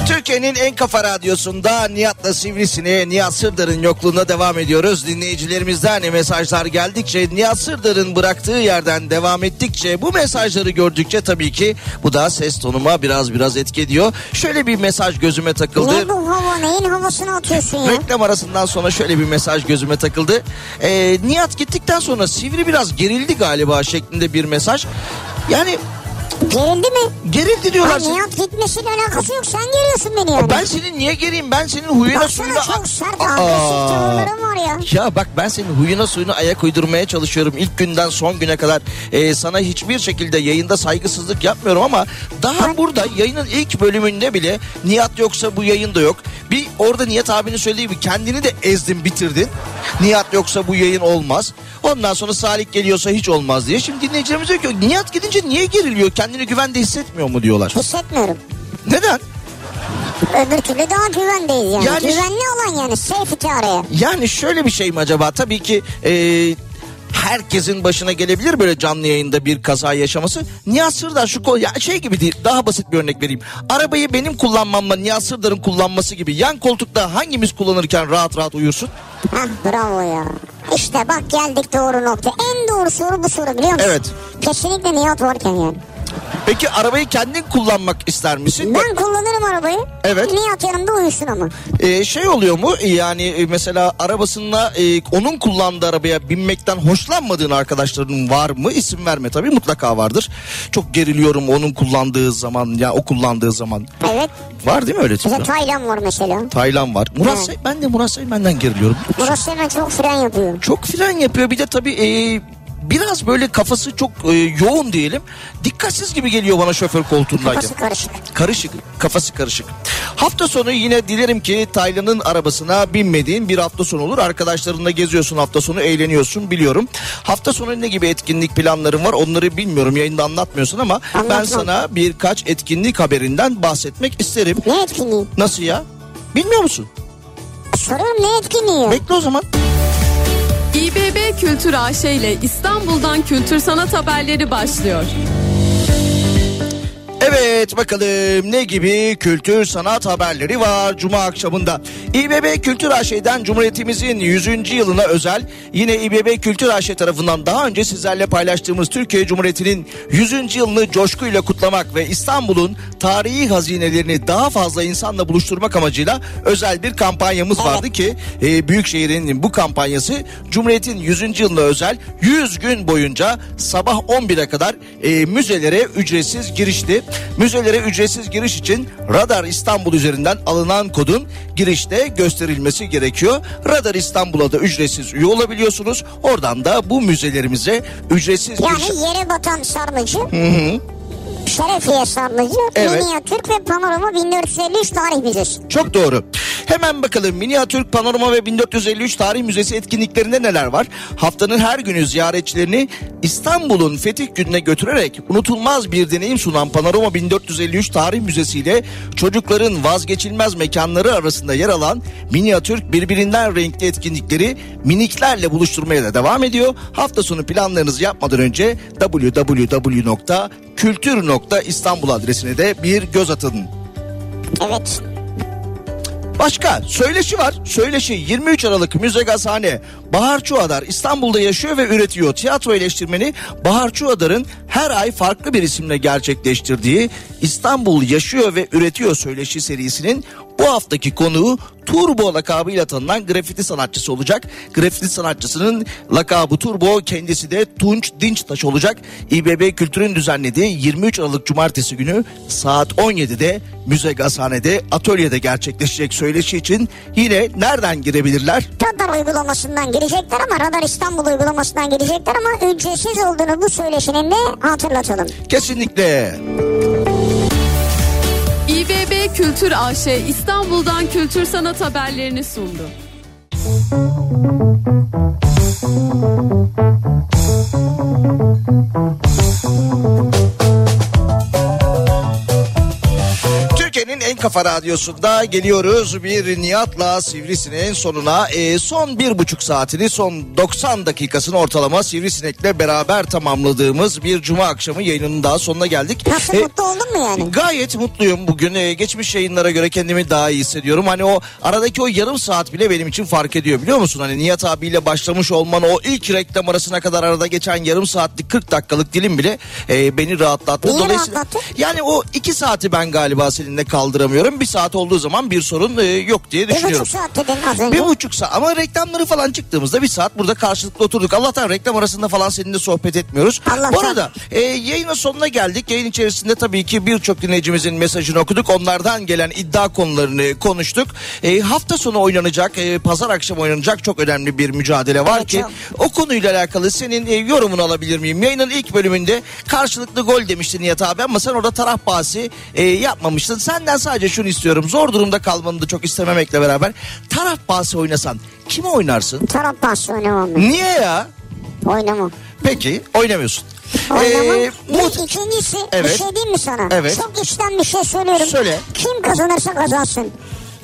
Speaker 4: Türkiye'nin en kafa radyosunda Nihat'la Sivrisine'ye Nihat Sırdar'ın yokluğunda devam ediyoruz. Dinleyicilerimizden mesajlar geldikçe Nihat Sırdar'ın bıraktığı yerden devam ettikçe bu mesajları gördükçe tabii ki bu da ses tonuma biraz biraz etki ediyor. Şöyle bir mesaj gözüme takıldı.
Speaker 3: Ne bu hava neyin havasını atıyorsun ya?
Speaker 4: Reklam arasından sonra şöyle bir mesaj gözüme takıldı. Ee, Nihat gittikten sonra Sivri biraz gerildi galiba şeklinde bir mesaj. Yani
Speaker 3: Gerildi mi?
Speaker 4: gerildi
Speaker 3: Ay
Speaker 4: diyorlar.
Speaker 3: Nihat gitmesiyle alakası yok sen geriyorsun beni yani.
Speaker 4: Ben senin niye geriyim? Ben senin huyuna
Speaker 3: Baksana
Speaker 4: suyuna...
Speaker 3: çok sert
Speaker 4: Aa!
Speaker 3: agresif tavırların var ya.
Speaker 4: Ya bak ben senin huyuna suyuna ayak uydurmaya çalışıyorum ilk günden son güne kadar. Ee, sana hiçbir şekilde yayında saygısızlık yapmıyorum ama daha burada yayının ilk bölümünde bile Nihat yoksa bu yayın da yok. Bir orada Nihat abinin söylediği gibi kendini de ezdin bitirdin. Nihat yoksa bu yayın olmaz. Ondan sonra Salih geliyorsa hiç olmaz diye. Şimdi dinleyicilerimiz diyor ki Nihat gidince niye geriliyor? Kendini güvende hissetmiyor mu diyorlar.
Speaker 3: Hissetmiyorum.
Speaker 4: Neden?
Speaker 3: Öbür türlü daha güvendeyiz yani.
Speaker 4: Yani-
Speaker 3: Güvenli olan yani safety araya.
Speaker 4: Yani şöyle bir şey mi acaba? Tabii ki e, herkesin başına gelebilir böyle canlı yayında bir kaza yaşaması. Nihat Sırdar şu kol, ya şey gibi değil daha basit bir örnek vereyim. Arabayı benim kullanmamla Nihat Sırdar'ın kullanması gibi yan koltukta hangimiz kullanırken rahat rahat uyursun?
Speaker 3: Hah bravo ya. İşte bak geldik doğru nokta. En doğru soru bu soru biliyor musun?
Speaker 4: Evet.
Speaker 3: Kesinlikle Nihat varken yani.
Speaker 4: Peki arabayı kendin kullanmak ister misin?
Speaker 3: Ben kullanırım arabayı.
Speaker 4: Evet.
Speaker 3: Nihat yanımda uyusun ama.
Speaker 4: E, şey oluyor mu yani e, mesela arabasında e, onun kullandığı arabaya binmekten hoşlanmadığın arkadaşların var mı? İsim verme tabii mutlaka vardır. Çok geriliyorum onun kullandığı zaman ya o kullandığı zaman.
Speaker 3: Evet.
Speaker 4: Var değil mi öyle
Speaker 3: Bize
Speaker 4: tipler?
Speaker 3: Taylan var mesela.
Speaker 4: Taylan var. Murat
Speaker 3: Evet.
Speaker 4: Sey- ben de Murat Seymen'den geriliyorum.
Speaker 3: Burası hemen çok fren yapıyor.
Speaker 4: Çok fren yapıyor. Bir de tabii e, biraz böyle kafası çok e, yoğun diyelim. Dikkatsiz gibi geliyor bana şoför koltuğundayken.
Speaker 3: Kafası karışık.
Speaker 4: Karışık, kafası karışık. Hafta sonu yine dilerim ki Taylan'ın arabasına binmediğin bir hafta sonu olur. Arkadaşlarınla geziyorsun hafta sonu, eğleniyorsun biliyorum. Hafta sonu ne gibi etkinlik planların var onları bilmiyorum. Yayında anlatmıyorsun ama ben
Speaker 3: Anlatmam.
Speaker 4: sana birkaç etkinlik haberinden bahsetmek isterim.
Speaker 3: Ne etkinliği?
Speaker 4: Nasıl ya? Bilmiyor musun?
Speaker 3: Soruyorum ne etkinliği? ya?
Speaker 4: Bekle o zaman.
Speaker 5: İBB Kültür AŞ ile İstanbul'dan kültür sanat haberleri başlıyor.
Speaker 4: Evet bakalım ne gibi kültür sanat haberleri var Cuma akşamında. İBB Kültür AŞ'den Cumhuriyetimizin 100. yılına özel yine İBB Kültür AŞ tarafından daha önce sizlerle paylaştığımız Türkiye Cumhuriyeti'nin 100. yılını coşkuyla kutlamak ve İstanbul'un tarihi hazinelerini daha fazla insanla buluşturmak amacıyla özel bir kampanyamız vardı ki e, Büyükşehir'in bu kampanyası Cumhuriyet'in 100. yılına özel 100 gün boyunca sabah 11'e kadar e, müzelere ücretsiz girişti. Müzelere ücretsiz giriş için Radar İstanbul üzerinden alınan kodun girişte gösterilmesi gerekiyor. Radar İstanbul'a da ücretsiz üye olabiliyorsunuz. Oradan da bu müzelerimize ücretsiz giriş...
Speaker 3: Yani yere batan sarnıcı. Şerefiye sarnıcı.
Speaker 4: Evet.
Speaker 3: Miniatür ve panorama 1453 tarih müzesi.
Speaker 4: Çok doğru. Hemen bakalım Miniatürk Panorama ve 1453 Tarih Müzesi etkinliklerinde neler var? Haftanın her günü ziyaretçilerini İstanbul'un fetih gününe götürerek unutulmaz bir deneyim sunan Panorama 1453 Tarih Müzesi ile çocukların vazgeçilmez mekanları arasında yer alan Miniatürk birbirinden renkli etkinlikleri miniklerle buluşturmaya da devam ediyor. Hafta sonu planlarınızı yapmadan önce www.kültür.istanbul adresine de bir göz atın.
Speaker 3: Evet.
Speaker 4: Başka söyleşi var. Söyleşi 23 Aralık Müze Gazhane. Bahar Çuadar İstanbul'da yaşıyor ve üretiyor. Tiyatro eleştirmeni Bahar Çuadar'ın her ay farklı bir isimle gerçekleştirdiği İstanbul Yaşıyor ve Üretiyor söyleşi serisinin bu haftaki konuğu Turbo lakabıyla tanınan grafiti sanatçısı olacak. Grafiti sanatçısının lakabı Turbo kendisi de Tunç Dinçtaş olacak. İBB Kültür'ün düzenlediği 23 Aralık Cumartesi günü saat 17'de Müze Gazhane'de atölyede gerçekleşecek söyleşi için yine nereden girebilirler?
Speaker 3: Radar uygulamasından girecekler ama Radar İstanbul uygulamasından girecekler ama ücretsiz olduğunu bu söyleşinin de hatırlatalım.
Speaker 4: Kesinlikle.
Speaker 5: İBB Kültür AŞ İstanbul'dan kültür sanat haberlerini sundu.
Speaker 4: Türkiye'nin en kafa radyosunda geliyoruz bir Nihat'la Sivrisinek'in sonuna. Ee, son bir buçuk saatini son 90 dakikasını ortalama Sivrisinek'le beraber tamamladığımız bir cuma akşamı yayınının daha sonuna geldik.
Speaker 3: Nasıl
Speaker 4: Ee,
Speaker 3: mutlu oldun mu yani?
Speaker 4: Gayet mutluyum bugün. Ee, geçmiş yayınlara göre kendimi daha iyi hissediyorum. Hani o aradaki o yarım saat bile benim için fark ediyor biliyor musun? Hani Nihat abiyle başlamış olman o ilk reklam arasına kadar arada geçen yarım saatlik 40 dakikalık dilim bile e, beni rahatlattı.
Speaker 3: Niye
Speaker 4: Dolayısıyla-
Speaker 3: rahatlattı?
Speaker 4: Yani o iki saati ben galiba seninle kaldıramıyorum. Bir saat olduğu zaman bir sorun e, yok diye
Speaker 3: Bir
Speaker 4: düşünüyorum.
Speaker 3: buçuk saat dedin az önce.
Speaker 4: Bir buçuk saat ama reklamları falan çıktığımızda bir saat burada karşılıklı oturduk. Allah'tan reklam arasında falan seninle sohbet etmiyoruz.
Speaker 3: Allah'tan.
Speaker 4: Bu arada e, yayının sonuna geldik. Yayın içerisinde tabii ki birçok dinleyicimizin mesajını okuduk. Onlardan gelen iddia konularını konuştuk. E, hafta sonu oynanacak, e, pazar akşamı oynanacak çok önemli bir mücadele var
Speaker 3: Evet,
Speaker 4: ki.
Speaker 3: çok.
Speaker 4: O konuyla alakalı senin e, yorumunu alabilir miyim? Yayının ilk bölümünde karşılıklı gol demişti Nihat abi ama sen orada taraf bahsi e, yapmamıştın. Senden sadece şunu istiyorum. Zor durumda kalmanı da çok istememekle beraber taraf bahsi oynasan kime oynarsın?
Speaker 3: Tarap bahsi oynamam ben.
Speaker 4: Niye ya?
Speaker 3: Oynamam.
Speaker 4: Peki oynamıyorsun.
Speaker 3: Oynamam.
Speaker 4: Ee,
Speaker 3: Bir
Speaker 4: mut-
Speaker 3: ikincisi bir
Speaker 4: Evet.
Speaker 3: şey diyeyim mi sana?
Speaker 4: Evet.
Speaker 3: Çok içten bir şey söylüyorum.
Speaker 4: Söyle.
Speaker 3: Kim kazanırsa kazansın.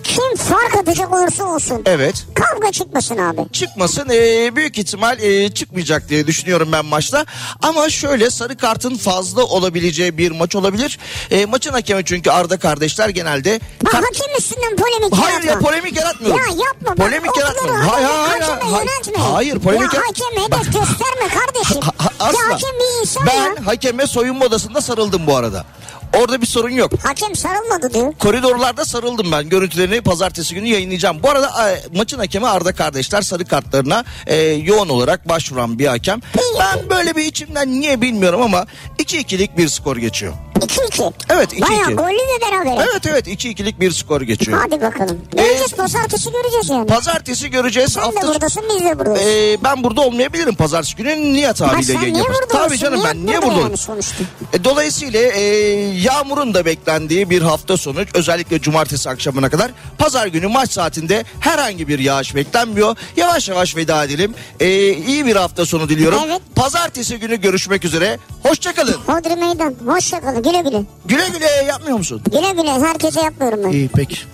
Speaker 3: Kim fark atacak olursa olsun.
Speaker 4: Evet.
Speaker 3: Kavga çıkmasın abi.
Speaker 4: çıkmasın. Ee, büyük ihtimal e, çıkmayacak diye düşünüyorum ben maçta. Ama şöyle sarı kartın fazla olabileceği bir maç olabilir. E, maçın hakemi çünü Arda kardeşler genelde
Speaker 3: Bak
Speaker 4: kart-
Speaker 3: hakem üstünden polemik
Speaker 4: Hayır
Speaker 3: yaratma.
Speaker 4: ya polemik yaratmıyorum.
Speaker 3: Ya yapma. bak,
Speaker 4: Polemik
Speaker 3: okları
Speaker 4: yaratmıyorum.
Speaker 3: hakeme-
Speaker 4: Hayır hayır hayır.
Speaker 3: hakeme
Speaker 4: Hayır,
Speaker 3: yöneltme.
Speaker 4: hayır polemik
Speaker 3: Ya
Speaker 4: yara-
Speaker 3: hakeme hedef gösterme kardeşim.
Speaker 4: Ha- ha-
Speaker 3: Ya
Speaker 4: asla.
Speaker 3: hakem bir insan
Speaker 4: ben
Speaker 3: ya.
Speaker 4: hakeme soyunma odasında sarıldım bu arada. Orada bir sorun yok.
Speaker 3: Hakem sarılmadı diyor.
Speaker 4: Koridorlarda sarıldım ben. Görüntülerini pazartesi günü yayınlayacağım. Bu arada e, maçın hakemi Arda kardeşler sarı kartlarına e, yoğun olarak başvuran bir hakem. Ben böyle bir içimden niye bilmiyorum ama 2-2'lik bir skor geçiyor.
Speaker 3: 2-2.
Speaker 4: Evet, 2-2.
Speaker 3: Bayağı gollü ve beraber.
Speaker 4: Evet evet 2-2'lik bir skor geçiyor.
Speaker 3: Hadi bakalım.
Speaker 4: Ee,
Speaker 3: Göreceğiz pazartesi göreceğiz yani.
Speaker 4: Pazartesi göreceğiz.
Speaker 3: Sen de
Speaker 4: Hafta
Speaker 3: buradasın biz de buradayız.
Speaker 4: E, ben burada olmayabilirim pazartesi günü Nihat
Speaker 3: Bak
Speaker 4: abiyle
Speaker 3: sen
Speaker 4: yayın
Speaker 3: niye
Speaker 4: yaparız.
Speaker 3: burada
Speaker 4: Tabii
Speaker 3: olsun?
Speaker 4: canım ben niye burada
Speaker 3: burada
Speaker 4: olayım?
Speaker 3: yani sonuçta?
Speaker 4: E, Dolayısıyla e, yağmurun da beklendiği bir hafta sonu özellikle cumartesi akşamına kadar pazar günü maç saatinde herhangi bir yağış beklenmiyor. Yavaş yavaş veda edelim. E, iyi bir hafta sonu diliyorum.
Speaker 3: Evet.
Speaker 4: Pazartesi günü görüşmek üzere. Hoşçakalın.
Speaker 3: Hodri meydan. Hoşçakalın. Güle güle.
Speaker 4: Güle güle yapmıyor musun?
Speaker 3: Güle güle. Herkese yapmıyorum ben.
Speaker 2: İyi peki.